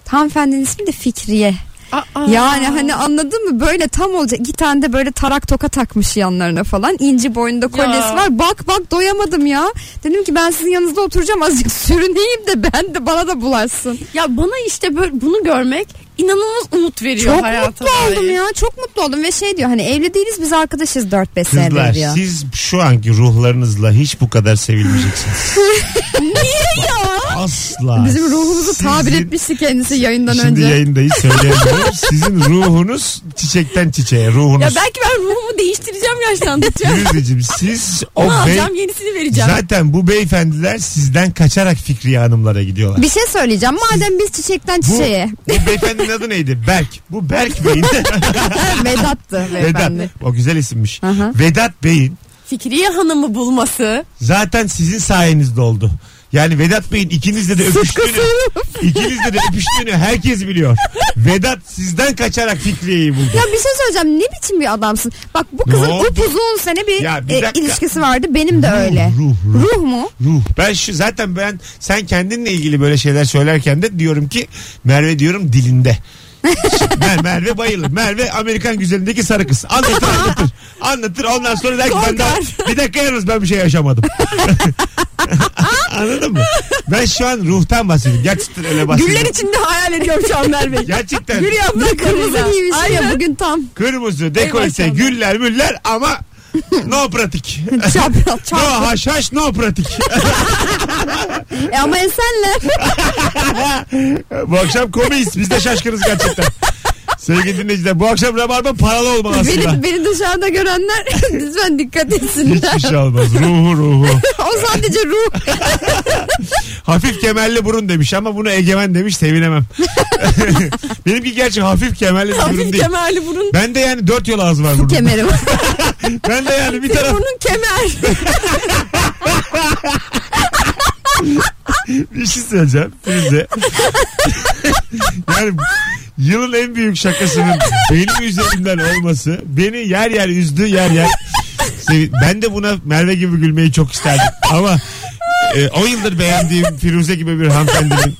[SPEAKER 4] hanımefendinin ismi de Fikriye
[SPEAKER 3] Aa.
[SPEAKER 4] yani hani anladın mı böyle tam olacak iki tane de böyle tarak toka takmış yanlarına falan inci boynunda kolyesi
[SPEAKER 3] Ya.
[SPEAKER 4] var bak bak doyamadım ya dedim ki ben sizin yanınızda oturacağım azıcık sürüneyim de ben de bana da bulaşsın
[SPEAKER 3] Ya bana işte böyle bunu görmek inanılmaz umut veriyor
[SPEAKER 4] çok mutlu
[SPEAKER 3] hayatıma.
[SPEAKER 4] oldum ya çok mutlu oldum ve şey diyor hani evli değiliz biz arkadaşız
[SPEAKER 2] Kızlar
[SPEAKER 4] 4-5 senedir diyor.
[SPEAKER 2] siz şu anki ruhlarınızla hiç bu kadar sevilmeyeceksiniz. Niye ya? Asla.
[SPEAKER 4] Bizim ruhumuzu tabir
[SPEAKER 2] Sizin-
[SPEAKER 4] etmişti kendisi yayından
[SPEAKER 2] Şimdi
[SPEAKER 4] önce.
[SPEAKER 2] yayındayız söyleyemiyorum. Sizin ruhunuz çiçekten çiçeğe
[SPEAKER 3] Ya
[SPEAKER 2] ruhunuz.
[SPEAKER 3] belki ben ruhumu değiştireceğim yaşlandıkça.
[SPEAKER 2] Firuze'cim, siz o
[SPEAKER 3] Onu
[SPEAKER 2] bey...
[SPEAKER 3] alacağım yenisini vereceğim.
[SPEAKER 2] Zaten bu beyefendiler sizden kaçarak Fikriye Hanımlara gidiyorlar.
[SPEAKER 4] Bir şey söyleyeceğim. Madem biz çiçekten
[SPEAKER 2] Bu,
[SPEAKER 4] çiçeğe.
[SPEAKER 2] bu beyefendinin adı neydi? Berk. Bu Berk Bey'in.
[SPEAKER 4] Vedat'tı
[SPEAKER 2] Vedat.
[SPEAKER 4] beyefendi.
[SPEAKER 2] O güzel isimmiş.
[SPEAKER 4] Aha.
[SPEAKER 2] Vedat Bey'in
[SPEAKER 3] Fikriye Hanım'ı bulması.
[SPEAKER 2] zaten sizin sayenizde oldu. Yani Vedat Bey'in ikinizle de öpüştüğünü, ikinizle de öpüştüğünü herkes biliyor. Vedat sizden kaçarak Fikriye'yi buldu.
[SPEAKER 4] Ya bir şey söyleyeceğim. Ne biçim bir adamsın? Bak bu kızın
[SPEAKER 2] Ne oldu?
[SPEAKER 4] upuzun sene bir,
[SPEAKER 2] Ya bir
[SPEAKER 4] e,
[SPEAKER 2] dakika.
[SPEAKER 4] ilişkisi vardı. Benim de
[SPEAKER 2] Ruh,
[SPEAKER 4] öyle.
[SPEAKER 2] ruh, ruh.
[SPEAKER 4] mu?
[SPEAKER 2] Ruh. Ben şu zaten ben sen kendinle ilgili böyle şeyler söylerken de diyorum ki Merve diyorum dilinde. Mer Merve bayılır. Merve Amerikan güzelindeki sarı kız. Anlatır anlatır. Anlatır ondan sonra der ki ben daha, bir dakika yalnız ben bir şey yaşamadım. Anladın mı? Ben şu an ruhtan bahsediyorum. Gerçekten öyle bahsediyorum.
[SPEAKER 3] içinde hayal ediyorum şu an Merve.
[SPEAKER 2] Gerçekten
[SPEAKER 4] Ne kırmızı giymiş ya
[SPEAKER 3] Aynen.
[SPEAKER 4] bugün tam.
[SPEAKER 2] kırmızı
[SPEAKER 3] Ey
[SPEAKER 2] dekolte
[SPEAKER 3] maşallah.
[SPEAKER 2] güller müller ama no pratik.
[SPEAKER 4] Çapraz
[SPEAKER 2] no
[SPEAKER 4] çapraz.
[SPEAKER 2] haşhaş no pratik.
[SPEAKER 4] E ama esenle.
[SPEAKER 2] bu akşam komiyiz. Biz de şaşkınız gerçekten. Sevgili dinleyiciler bu akşam Rabarba paralı olmalı aslında.
[SPEAKER 4] beni, beni dışarıda görenler lütfen dikkat etsinler.
[SPEAKER 2] Hiçbir şey olmaz. Ruhu ruhu.
[SPEAKER 4] o sadece ruh.
[SPEAKER 2] Hafif kemerli burun demiş ama bunu egemen demiş sevinemem. Benimki gerçi hafif kemerli bir burun
[SPEAKER 3] Hafif
[SPEAKER 2] değil.
[SPEAKER 3] kemerli burun.
[SPEAKER 2] Ben de yani dört yol ağzı var
[SPEAKER 4] Bu
[SPEAKER 2] burnumda.
[SPEAKER 4] kemeri var.
[SPEAKER 2] Ben de yani bir taraf
[SPEAKER 3] Burnun kemer.
[SPEAKER 2] bir şey söyleyeceğim. Firuze. yani yılın en büyük şakasının benim üzerimden olması beni yer yer üzdü yer yer. sevi- Ben de buna Merve gibi gülmeyi çok isterdim ama e, o yıldır beğendiğim Firuze gibi bir hanımefendinin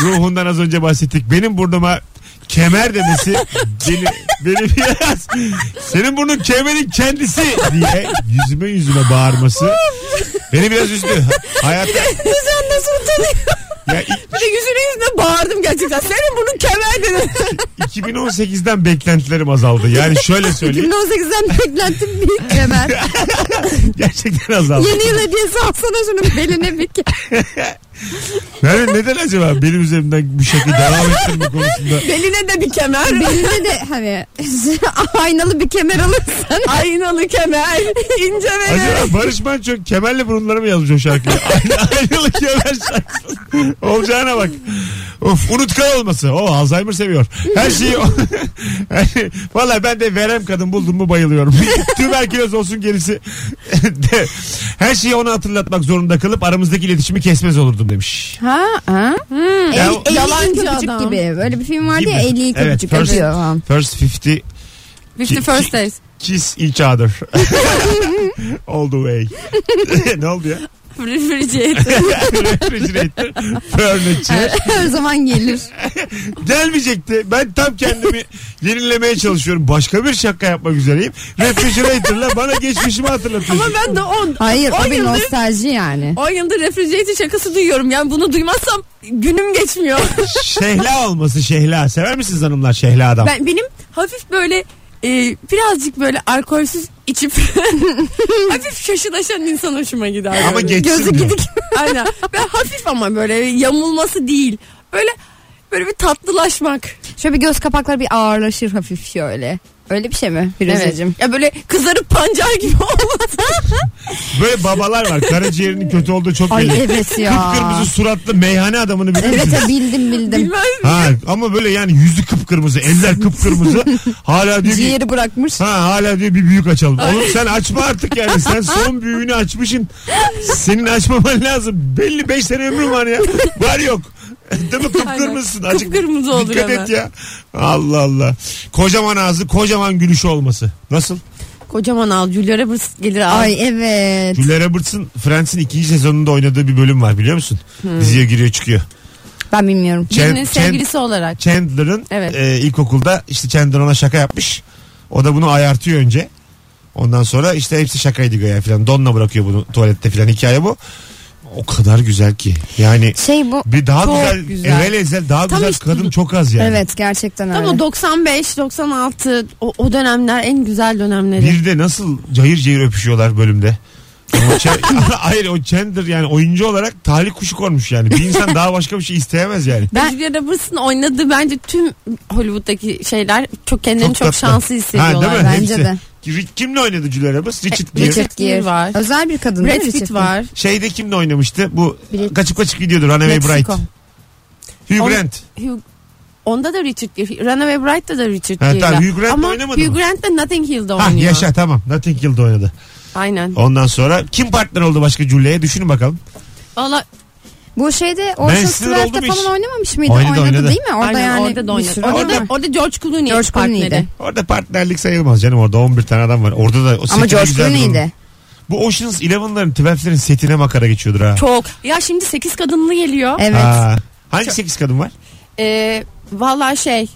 [SPEAKER 2] ruhundan az önce bahsettik. Benim burnuma kemer demesi beni, beni biraz senin burnun kemerin kendisi diye yüzüme yüzüme bağırması beni biraz üzdü. Hayatta
[SPEAKER 3] Sen nasıl utanıyorsun?
[SPEAKER 2] ya ilk-
[SPEAKER 3] Bir de yüzüne yüzüne bağırdım gerçekten. Senin burnun kemer dedim.
[SPEAKER 2] 2018'den beklentilerim azaldı. Yani şöyle söyleyeyim.
[SPEAKER 4] 2018'den beklentim büyük kemer.
[SPEAKER 2] gerçekten azaldı.
[SPEAKER 4] Yeni yıl hediyesi alsana şunu beline bir ke-
[SPEAKER 2] Yani neden acaba benim üzerimden bu şekilde devam ettirme konusunda?
[SPEAKER 3] Beline de bir kemer.
[SPEAKER 4] Beline de hani aynalı bir kemer alırsan.
[SPEAKER 3] Aynalı kemer. ince ve
[SPEAKER 2] Acaba Barış Manço kemerle burunları mı yazmış o şarkıyı? Aynı- Ayrılık kemer şarkısı. Olacağına bak. Of unutkan olması. O Alzheimer seviyor. Her şeyi... Valla ben de verem kadın buldum mu bayılıyorum. Tüberküloz olsun gerisi. De- Her şeyi ona hatırlatmak zorunda kalıp aramızdaki iletişimi kesmez olurdum demiş.
[SPEAKER 4] Ha, ha.
[SPEAKER 3] Hmm,
[SPEAKER 2] Ya-
[SPEAKER 3] Yalancı
[SPEAKER 4] El, yalancı köpücük
[SPEAKER 3] adam.
[SPEAKER 4] gibi. Böyle bir film vardı ya
[SPEAKER 2] Gibi.
[SPEAKER 4] 52
[SPEAKER 2] Evet,
[SPEAKER 4] köpücük
[SPEAKER 2] first-
[SPEAKER 4] öpüyor falan.
[SPEAKER 2] First 50
[SPEAKER 3] Fifty First Days.
[SPEAKER 2] kiss each other. All the way. ne oldu ya?
[SPEAKER 3] Refrigerator.
[SPEAKER 2] Refrigerator, furniture.
[SPEAKER 4] Her zaman gelir.
[SPEAKER 2] Gelmeyecekti. Ben tam kendimi yenilemeye çalışıyorum. Başka bir şaka yapmak üzereyim. Refrigerator'la bana geçmişimi hatırlatıyorsun.
[SPEAKER 3] Ama ben de 10
[SPEAKER 4] Hayır o bir
[SPEAKER 3] yıldır
[SPEAKER 4] nostalji yani.
[SPEAKER 3] 10 yıldır refrigerator şakası duyuyorum. Yani bunu duymazsam günüm geçmiyor.
[SPEAKER 2] Şehla olması şehla. Sever misiniz hanımlar şehla adam?
[SPEAKER 3] ben benim hafif böyle e, birazcık böyle alkolsüz içip hafif şaşılaşan insan hoşuma gider.
[SPEAKER 2] Ama
[SPEAKER 3] böyle.
[SPEAKER 2] geçsin
[SPEAKER 4] Gözü
[SPEAKER 2] diyor.
[SPEAKER 4] gidik.
[SPEAKER 3] Aynen. Ben hafif ama böyle yamulması değil. Böyle böyle bir tatlılaşmak.
[SPEAKER 4] Şöyle bir göz kapakları bir ağırlaşır hafif şöyle. Öyle bir şey mi Firuzeciğim?
[SPEAKER 3] Ya böyle kızarıp pancar gibi olmaz.
[SPEAKER 2] Böyle babalar var. Karaciğerinin kötü olduğu çok belli.
[SPEAKER 4] Ay evet ya.
[SPEAKER 2] Kıpkırmızı suratlı meyhane adamını bilir
[SPEAKER 4] Evet
[SPEAKER 2] misiniz?
[SPEAKER 4] evet, bildim bildim.
[SPEAKER 3] Bilmem.
[SPEAKER 2] Ha, ama böyle yani yüzü kıpkırmızı, eller kıpkırmızı. Hala diyor ki
[SPEAKER 4] Ciğeri bırakmış.
[SPEAKER 2] Ha hala diyor bir büyük açalım. Oğlum sen açma artık yani. Sen son büyüğünü açmışsın. Senin açmaman lazım. Belli 5 sene ömrün var ya. Var yok. Değil mi? Kıpkırmızısın.
[SPEAKER 3] Aynen. Kıpkırmızı olur
[SPEAKER 2] Dikkat
[SPEAKER 3] hemen.
[SPEAKER 2] et ya. Allah Allah. Kocaman ağzı, kocaman gülüşü olması. Nasıl?
[SPEAKER 3] Kocaman al Julia Roberts gelir al.
[SPEAKER 4] Ay evet.
[SPEAKER 2] Julia Roberts'ın Friends'in ikinci sezonunda oynadığı bir bölüm var biliyor musun?
[SPEAKER 3] Hmm.
[SPEAKER 2] Diziye giriyor çıkıyor.
[SPEAKER 4] Ben bilmiyorum.
[SPEAKER 2] Chan-
[SPEAKER 3] Birinin
[SPEAKER 2] Chan-
[SPEAKER 3] sevgilisi olarak.
[SPEAKER 2] Chandler'ın
[SPEAKER 3] Evet.
[SPEAKER 2] e, ilkokulda işte Chandler ona şaka yapmış. O da bunu ayartıyor önce. Ondan sonra işte hepsi şakaydı göğe falan. Donla bırakıyor bunu tuvalette falan hikaye bu. O kadar güzel ki. Yani
[SPEAKER 4] Şey bu.
[SPEAKER 2] bir daha
[SPEAKER 4] Çok
[SPEAKER 2] güzel,
[SPEAKER 4] güzel.
[SPEAKER 2] evvel ezel daha
[SPEAKER 3] Tam
[SPEAKER 2] güzel
[SPEAKER 3] işte-
[SPEAKER 2] kadın çok az yani.
[SPEAKER 4] Evet gerçekten öyle.
[SPEAKER 3] Tam o 95, 96 o, o dönemler en güzel dönemleri.
[SPEAKER 2] Bir de nasıl cayır cayır öpüşüyorlar bölümde. Ama Chan- Hayır o Chandler yani oyuncu olarak talih kuşu konmuş yani. Bir insan daha başka bir şey isteyemez yani.
[SPEAKER 3] Ben... Julia Roberts'ın oynadığı bence tüm Hollywood'daki şeyler çok kendilerini çok,
[SPEAKER 2] tatlı.
[SPEAKER 3] şanslı
[SPEAKER 2] Ha,
[SPEAKER 3] hissediyorlar.
[SPEAKER 2] değil mi?
[SPEAKER 4] bence
[SPEAKER 2] Hepsi.
[SPEAKER 4] de. E,
[SPEAKER 2] Ki- Kimle oynadı Julia Roberts? Richard Gere.
[SPEAKER 4] Richard Gere.
[SPEAKER 3] Gere var.
[SPEAKER 4] Özel bir kadın
[SPEAKER 3] Brad
[SPEAKER 4] değil mi
[SPEAKER 3] Pitt
[SPEAKER 4] Richard
[SPEAKER 3] var.
[SPEAKER 2] Şeyde kimle oynamıştı? Bu
[SPEAKER 4] Bil-
[SPEAKER 2] kaçıp kaçıp gidiyordu Runaway Bright.
[SPEAKER 3] Meksiko.
[SPEAKER 2] Hugh
[SPEAKER 3] On-
[SPEAKER 2] Grant.
[SPEAKER 3] Hugh- Onda da Richard Gere. Runaway Bright'ta da Richard
[SPEAKER 2] Ha,
[SPEAKER 3] Gere.
[SPEAKER 2] tamam, Hugh Grant
[SPEAKER 3] Ama
[SPEAKER 2] oynamadı
[SPEAKER 3] Hugh
[SPEAKER 2] mı?
[SPEAKER 3] Grant da Nothing Hill'de
[SPEAKER 2] Ha
[SPEAKER 3] oynuyor.
[SPEAKER 2] yaşa tamam. Nothing Hill'de oynadı.
[SPEAKER 3] Aynen.
[SPEAKER 2] Ondan sonra kim partner oldu başka Julia'ya düşünün bakalım.
[SPEAKER 3] Valla
[SPEAKER 4] Bu şeyde Ocean's
[SPEAKER 2] sinir oldum
[SPEAKER 4] Twelve'de
[SPEAKER 2] hiç.
[SPEAKER 4] falan oynamamış mıydı?
[SPEAKER 2] Oynadı,
[SPEAKER 4] oynadı,
[SPEAKER 2] oynadı.
[SPEAKER 4] değil mi? Orada
[SPEAKER 3] Aynen,
[SPEAKER 4] yani
[SPEAKER 3] orada da
[SPEAKER 4] bir
[SPEAKER 3] oynadı.
[SPEAKER 4] sürü
[SPEAKER 3] Orada,
[SPEAKER 4] adam var.
[SPEAKER 3] orada George Clooney
[SPEAKER 4] George
[SPEAKER 3] partneri.
[SPEAKER 4] Clooney'di.
[SPEAKER 2] Orada partnerlik sayılmaz canım orada 11 tane adam var. Orada da o seti
[SPEAKER 4] Ama
[SPEAKER 2] de
[SPEAKER 4] George
[SPEAKER 2] güzel bir
[SPEAKER 4] Clooney'di.
[SPEAKER 2] durum. Bu Ocean's Eleven'ların 12'lerin setine makara geçiyordur ha.
[SPEAKER 3] Çok. Ya şimdi 8 kadınlı geliyor.
[SPEAKER 4] Evet.
[SPEAKER 2] Ha. Hangi 8 kadın var?
[SPEAKER 3] Ee, Valla şey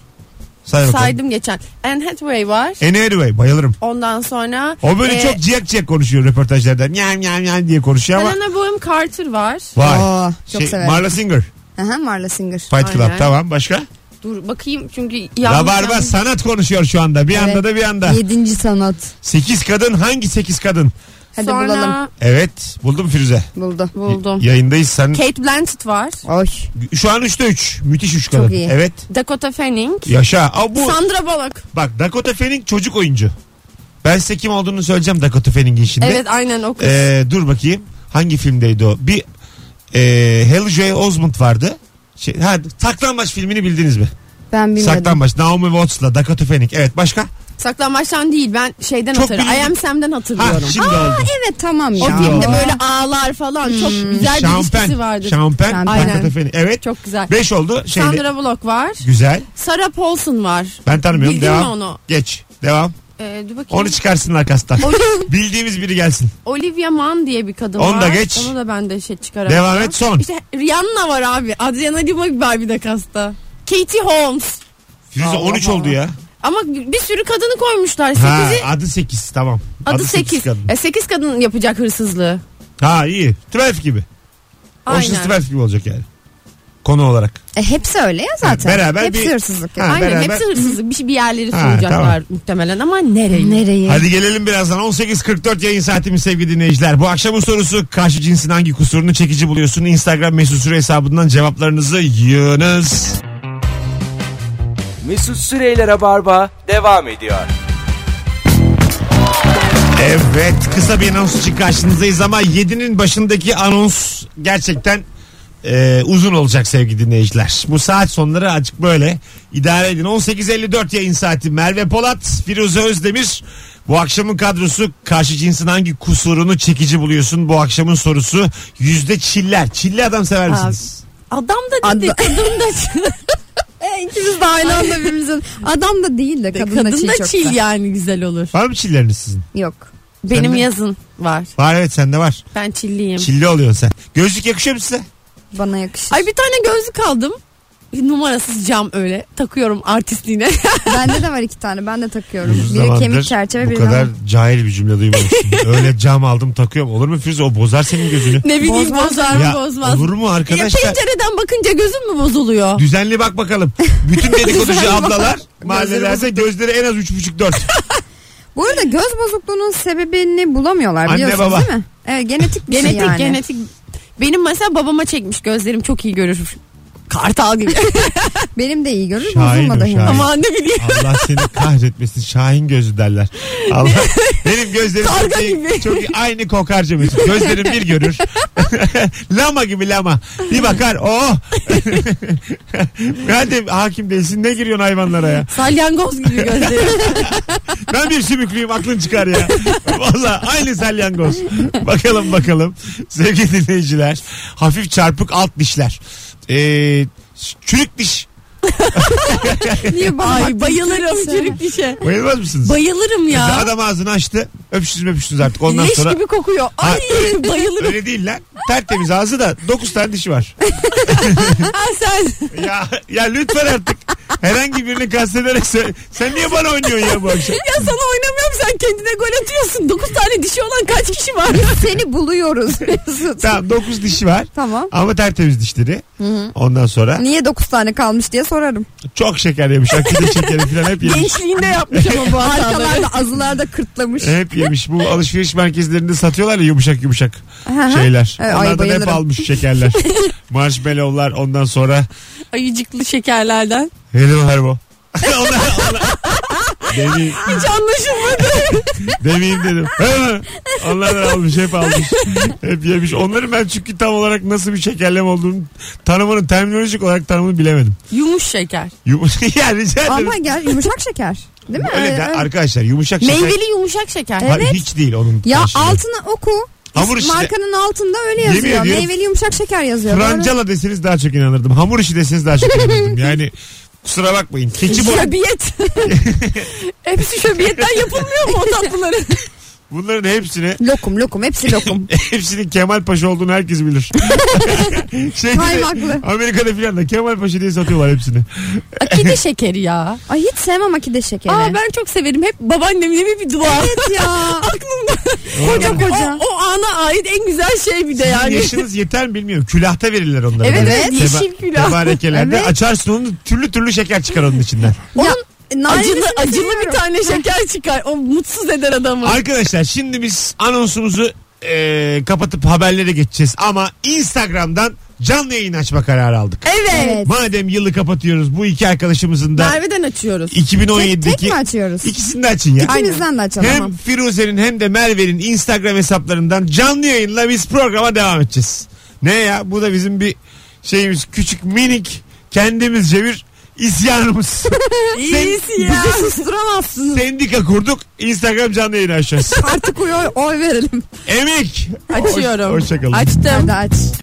[SPEAKER 2] Say bakalım.
[SPEAKER 3] saydım geçen. Anne Hathaway var.
[SPEAKER 2] Anne Hathaway bayılırım.
[SPEAKER 3] Ondan sonra
[SPEAKER 2] O böyle
[SPEAKER 3] e,
[SPEAKER 2] çok ciyak ciyak konuşuyor röportajlarda. Nyam nyam nyam diye konuşuyor ama.
[SPEAKER 3] Helena Bonham Carter var.
[SPEAKER 2] Vay.
[SPEAKER 4] Oo, çok
[SPEAKER 2] Şey,
[SPEAKER 4] severim.
[SPEAKER 2] Marla Singer.
[SPEAKER 4] Aha, Marla Singer.
[SPEAKER 2] Fight Club
[SPEAKER 3] Aynen.
[SPEAKER 2] tamam başka?
[SPEAKER 3] Dur bakayım çünkü yanlış.
[SPEAKER 2] Rabarba
[SPEAKER 3] yanlış.
[SPEAKER 2] sanat konuşuyor şu anda. Bir anda
[SPEAKER 4] Evet.
[SPEAKER 2] da bir anda.
[SPEAKER 4] Yedinci sanat.
[SPEAKER 2] 8 kadın hangi 8 kadın?
[SPEAKER 4] Hadi
[SPEAKER 3] Sonra
[SPEAKER 4] bulalım.
[SPEAKER 2] Evet buldum Firuze.
[SPEAKER 4] Buldu.
[SPEAKER 3] buldum.
[SPEAKER 2] Y- yayındayız sen.
[SPEAKER 3] Kate Blanchett var.
[SPEAKER 4] Oy.
[SPEAKER 2] Şu an 3'te 3. Müthiş 3 kadın.
[SPEAKER 4] iyi.
[SPEAKER 2] Evet.
[SPEAKER 3] Dakota Fanning.
[SPEAKER 2] Yaşa. Aa, bu
[SPEAKER 3] Sandra Bullock.
[SPEAKER 2] bak Dakota Fanning çocuk oyuncu. Ben size kim olduğunu söyleyeceğim Dakota Fanning'in şimdi.
[SPEAKER 3] Evet aynen o kız.
[SPEAKER 2] Ee, dur bakayım. Hangi filmdeydi o? Bir e, Haley J. Osmond vardı. Şey, ha, Saklambaç filmini bildiniz mi?
[SPEAKER 4] Ben bilmedim.
[SPEAKER 2] Saklambaç. Naomi Watts'la Dakota Fanning. Evet başka?
[SPEAKER 3] Saklambaçtan değil ben şeyden
[SPEAKER 2] Çok
[SPEAKER 3] hatırlıyorum.
[SPEAKER 2] bilindik-
[SPEAKER 3] I Am Sam'den hatırlıyorum.
[SPEAKER 2] Ha, şimdi oldu.
[SPEAKER 4] Evet tamam ya.
[SPEAKER 3] o filmde
[SPEAKER 2] Aa.
[SPEAKER 3] böyle ağlar falan çok
[SPEAKER 2] Hmm.
[SPEAKER 3] güzel bir ilişkisi
[SPEAKER 2] Şampen.
[SPEAKER 3] vardı.
[SPEAKER 2] Şampen.
[SPEAKER 4] Şampen.
[SPEAKER 2] Dakota Fanning. Evet.
[SPEAKER 3] Hmm. Çok güzel.
[SPEAKER 2] 5 oldu. Şeyle,
[SPEAKER 3] Sandra Bullock var.
[SPEAKER 2] Güzel.
[SPEAKER 3] Sarah Paulson var.
[SPEAKER 2] Ben tanımıyorum.
[SPEAKER 3] Bildin
[SPEAKER 2] Devam.
[SPEAKER 3] mi onu?
[SPEAKER 2] Geç. Devam.
[SPEAKER 3] Ee, dur bakayım.
[SPEAKER 2] Onu çıkarsınlar kastan. Bildiğimiz biri gelsin.
[SPEAKER 3] Olivia Mann diye bir kadın
[SPEAKER 2] Onu
[SPEAKER 3] var.
[SPEAKER 2] da geç.
[SPEAKER 3] Onu da ben de şey çıkaramadım.
[SPEAKER 2] Devam et, son.
[SPEAKER 3] İşte Rihanna var abi. Adriana Lima var bir de kasta. Katie Holmes.
[SPEAKER 2] Firuze 13 oldu ya.
[SPEAKER 3] Ama bir sürü kadını koymuşlar.
[SPEAKER 2] Ha,
[SPEAKER 3] Sekizi
[SPEAKER 2] adı 8 tamam.
[SPEAKER 3] adı 8.
[SPEAKER 2] kadın.
[SPEAKER 3] E 8 kadın yapacak hırsızlığı.
[SPEAKER 2] Ha iyi. 12 gibi. Ocean's
[SPEAKER 3] Aynen.
[SPEAKER 2] 12 gibi olacak yani. konu olarak.
[SPEAKER 4] E, hepsi öyle ya zaten.
[SPEAKER 2] Evet, beraber
[SPEAKER 4] hepsi
[SPEAKER 2] bir-
[SPEAKER 4] hırsızlık. ya.
[SPEAKER 2] Ha,
[SPEAKER 3] Aynen
[SPEAKER 2] beraber-
[SPEAKER 3] hepsi hırsızlık. Bir, şey- bir yerleri
[SPEAKER 2] Ha,
[SPEAKER 3] soyacaklar
[SPEAKER 2] tamam.
[SPEAKER 3] muhtemelen ama nereye?
[SPEAKER 4] Nereye?
[SPEAKER 2] Hadi gelelim birazdan 18.44 yayın saatimiz sevgili dinleyiciler. Bu akşamın sorusu karşı cinsin hangi kusurunu çekici buluyorsun? Instagram mesut süre hesabından cevaplarınızı yığınız.
[SPEAKER 1] Mesut Süreyler'e barba devam ediyor.
[SPEAKER 2] Evet kısa bir anons için karşınızdayız ama 7'nin başındaki anons gerçekten e, uzun olacak sevgili dinleyiciler. Bu saat sonları acık böyle idare edin. 18.54 yayın saati Merve Polat, Firuze Özdemir. Bu akşamın kadrosu karşı cinsin hangi kusurunu çekici buluyorsun? Bu akşamın sorusu yüzde çiller. Çilli adam sever misiniz?
[SPEAKER 3] Adam da dedi
[SPEAKER 4] Adam-
[SPEAKER 3] kadın da
[SPEAKER 4] E, İkimiz de aynı anda birbirimizin. Adam da değil de kadın,
[SPEAKER 3] kadın
[SPEAKER 4] da çil
[SPEAKER 3] da
[SPEAKER 4] çok
[SPEAKER 3] çil
[SPEAKER 4] da.
[SPEAKER 3] yani güzel olur.
[SPEAKER 2] Var mı çilleriniz sizin?
[SPEAKER 4] Yok.
[SPEAKER 3] Benim
[SPEAKER 2] de-
[SPEAKER 3] yazın var.
[SPEAKER 2] Var evet sende var.
[SPEAKER 3] Ben çilliyim.
[SPEAKER 2] Çilli oluyorsun sen. Gözlük yakışıyor mu size?
[SPEAKER 4] Bana yakışır.
[SPEAKER 3] Ay bir tane gözlük aldım. Numarasız cam öyle takıyorum artistliğine.
[SPEAKER 4] Bende de var iki tane. Ben de takıyorum.
[SPEAKER 2] Uzun
[SPEAKER 4] Biri
[SPEAKER 2] zamandır
[SPEAKER 4] kemik çerçeve
[SPEAKER 2] bu
[SPEAKER 4] biri
[SPEAKER 2] kadar cahil bir cümle duymamıştım. Öyle cam aldım takıyorum. Olur mu Firuze? O bozar senin gözünü.
[SPEAKER 3] ne bileyim
[SPEAKER 4] Bozmaz
[SPEAKER 3] bozar mı bozmaz.
[SPEAKER 2] olur
[SPEAKER 3] mı?
[SPEAKER 2] mu
[SPEAKER 3] Ya
[SPEAKER 2] arkadaşlar?
[SPEAKER 3] pencereden bakınca gözüm mü bozuluyor?
[SPEAKER 2] Düzenli bak bakalım. Bütün dedikoducu
[SPEAKER 3] Düzenli bak.
[SPEAKER 2] ablalar mahallelerde gözleri en az 3,5-4.
[SPEAKER 4] Bu arada göz bozukluğunun sebebini bulamıyorlar
[SPEAKER 2] Anne,
[SPEAKER 4] biliyorsunuz
[SPEAKER 2] baba.
[SPEAKER 4] değil mi? Evet genetik bir şey
[SPEAKER 3] Genetik
[SPEAKER 4] yani.
[SPEAKER 3] genetik. Benim mesela babama çekmiş gözlerim çok iyi görür. Kartal gibi.
[SPEAKER 4] Benim de iyi görür
[SPEAKER 2] Şahin o,
[SPEAKER 4] bozulma da henüz.
[SPEAKER 2] şahin.
[SPEAKER 3] Ama ne bileyim.
[SPEAKER 2] Allah seni kahretmesin. Şahin gözü derler. Allah. Benim gözlerim
[SPEAKER 3] Karga
[SPEAKER 2] çok, iyi-
[SPEAKER 3] gibi.
[SPEAKER 2] çok iyi. aynı kokarca Mesut. Gözlerim bir görür. lama gibi lama. Bir bakar. Oh. Hadi hakim değilsin. Ne giriyorsun hayvanlara ya?
[SPEAKER 3] Salyangoz gibi gözlerim.
[SPEAKER 2] Ben bir sümüklüyüm aklın çıkar ya. Valla aynı salyangoz. Bakalım bakalım. Sevgili dinleyiciler. Hafif çarpık alt dişler. Ee, çürük diş.
[SPEAKER 4] Niye bana
[SPEAKER 3] Ay
[SPEAKER 4] baktın?
[SPEAKER 3] bayılırım
[SPEAKER 4] Sen-
[SPEAKER 3] çürük şey. dişe.
[SPEAKER 2] Bayılmaz mısınız?
[SPEAKER 3] Bayılırım ya.
[SPEAKER 2] Adam ağzını açtı. Öpüştünüz öpüştünüz artık. Ondan
[SPEAKER 3] Leş
[SPEAKER 2] sonra
[SPEAKER 3] gibi kokuyor. Ay bayılırım.
[SPEAKER 2] öyle değil lan. Tertemiz ağzı da 9 tane dişi var.
[SPEAKER 3] Ha sen.
[SPEAKER 2] ya, ya lütfen artık. Herhangi birini kastederek söyle. Sen niye bana oynuyorsun ya bu akşam?
[SPEAKER 3] Ya sana oynamıyorum sen kendine gol atıyorsun. 9 tane dişi olan kaç kişi var?
[SPEAKER 4] Seni buluyoruz Mesut.
[SPEAKER 2] Tamam 9 dişi var.
[SPEAKER 4] Tamam.
[SPEAKER 2] Ama tertemiz dişleri. Ondan sonra
[SPEAKER 4] Niye 9 tane kalmış diye sorarım.
[SPEAKER 2] çok şeker yemiş. Akide şekeri falan hep yemiş.
[SPEAKER 3] Gençliğinde yapmış ama bu hataları.
[SPEAKER 4] Arkalarda azılarda kırtlamış.
[SPEAKER 2] Hep yemiş. Bu alışveriş merkezlerinde satıyorlar ya yumuşak yumuşak
[SPEAKER 4] Aha.
[SPEAKER 2] şeyler.
[SPEAKER 4] Evet, ay
[SPEAKER 2] Onlardan hep
[SPEAKER 4] bayılırım.
[SPEAKER 2] almış şekerler. Marshmallowlar ondan sonra
[SPEAKER 3] Ayıcıklı şekerlerden.
[SPEAKER 2] Hello Harbo. onlar, onlar... Demi,
[SPEAKER 3] Hiç anlaşılmadı.
[SPEAKER 2] demeyeyim dedim. Ha! Onlardan almış hep almış. Hep yemiş. Onların ben çünkü tam olarak nasıl bir şekerleme olduğunu tanımını terminolojik olarak tanımını bilemedim.
[SPEAKER 3] Yumuş şeker.
[SPEAKER 2] Yumuş, yani rica ederim.
[SPEAKER 4] Ama gel yumuşak şeker. Değil mi?
[SPEAKER 2] Öyle
[SPEAKER 4] Ee,
[SPEAKER 2] de-
[SPEAKER 4] evet.
[SPEAKER 2] arkadaşlar yumuşak şeker.
[SPEAKER 3] Meyveli yumuşak şeker.
[SPEAKER 2] Hayır, Hiç değil onun.
[SPEAKER 4] ya
[SPEAKER 2] karşılığı.
[SPEAKER 4] altına oku.
[SPEAKER 2] Hamur işte.
[SPEAKER 4] Markanın altında öyle
[SPEAKER 2] Yemin
[SPEAKER 4] yazıyor.
[SPEAKER 2] ediyorum.
[SPEAKER 4] Meyveli yumuşak şeker yazıyor. Böyle-
[SPEAKER 2] Francala deseniz daha çok inanırdım. Hamur işi deseniz daha çok inanırdım. Yani kusura bakmayın. Keçi bu.
[SPEAKER 3] Şöbiyet. Hepsi şöbiyetten yapılmıyor mu o tatlıları?
[SPEAKER 2] Bunların hepsini
[SPEAKER 4] Lokum lokum hepsi lokum.
[SPEAKER 2] hepsinin Kemal Paşa olduğunu herkes bilir. Şeyde de-
[SPEAKER 4] Kaymaklı.
[SPEAKER 2] Amerika'da filan da Kemal Paşa diye satıyorlar hepsini.
[SPEAKER 3] Akide şekeri ya.
[SPEAKER 4] Ay hiç sevmem akide şekeri.
[SPEAKER 3] Aa ben çok severim. Hep babaannemin evi bir dua.
[SPEAKER 4] Evet ya.
[SPEAKER 3] Aklımda.
[SPEAKER 4] koca koca.
[SPEAKER 3] O, o ana ait en güzel şey bir de
[SPEAKER 2] Sizin
[SPEAKER 3] yani.
[SPEAKER 2] yaşınız yeter mi bilmiyorum. Külahta verirler onlara.
[SPEAKER 3] Evet,
[SPEAKER 2] Böyle
[SPEAKER 3] evet, yeşil külah.
[SPEAKER 2] Tebarekelerde
[SPEAKER 4] Evet.
[SPEAKER 2] açarsın onu türlü türlü şeker çıkar onun içinden.
[SPEAKER 4] Ya, narenisini
[SPEAKER 3] Acılı, acılı
[SPEAKER 4] seviyorum.
[SPEAKER 3] bir tane şeker çıkar. O mutsuz eder adamı.
[SPEAKER 2] Arkadaşlar şimdi biz anonsumuzu e, kapatıp haberlere geçeceğiz. Ama Instagram'dan canlı yayın açma kararı aldık.
[SPEAKER 3] Evet.
[SPEAKER 4] Evet.
[SPEAKER 2] Madem yılı kapatıyoruz bu iki arkadaşımızın da
[SPEAKER 3] Merve'den açıyoruz.
[SPEAKER 4] Tek,
[SPEAKER 2] 2017'deki
[SPEAKER 4] tek mi açıyoruz?
[SPEAKER 2] ikisini de açın ya.
[SPEAKER 4] İkimizden de açalım.
[SPEAKER 2] Hem
[SPEAKER 4] Tamam.
[SPEAKER 2] Firuze'nin hem de Merve'nin Instagram hesaplarından canlı yayınla biz programa devam edeceğiz. Ne ya bu da bizim bir şeyimiz küçük minik kendimizce bir isyanımız.
[SPEAKER 3] İyisi ya.
[SPEAKER 4] Bizi susturamazsınız.
[SPEAKER 2] Sendika kurduk Instagram canlı yayını açacağız.
[SPEAKER 4] Artık oy, oy verelim.
[SPEAKER 2] Emek.
[SPEAKER 3] Açıyorum.
[SPEAKER 2] Hoş- Hoşçakalın.
[SPEAKER 3] Açtım.
[SPEAKER 4] Hadi aç.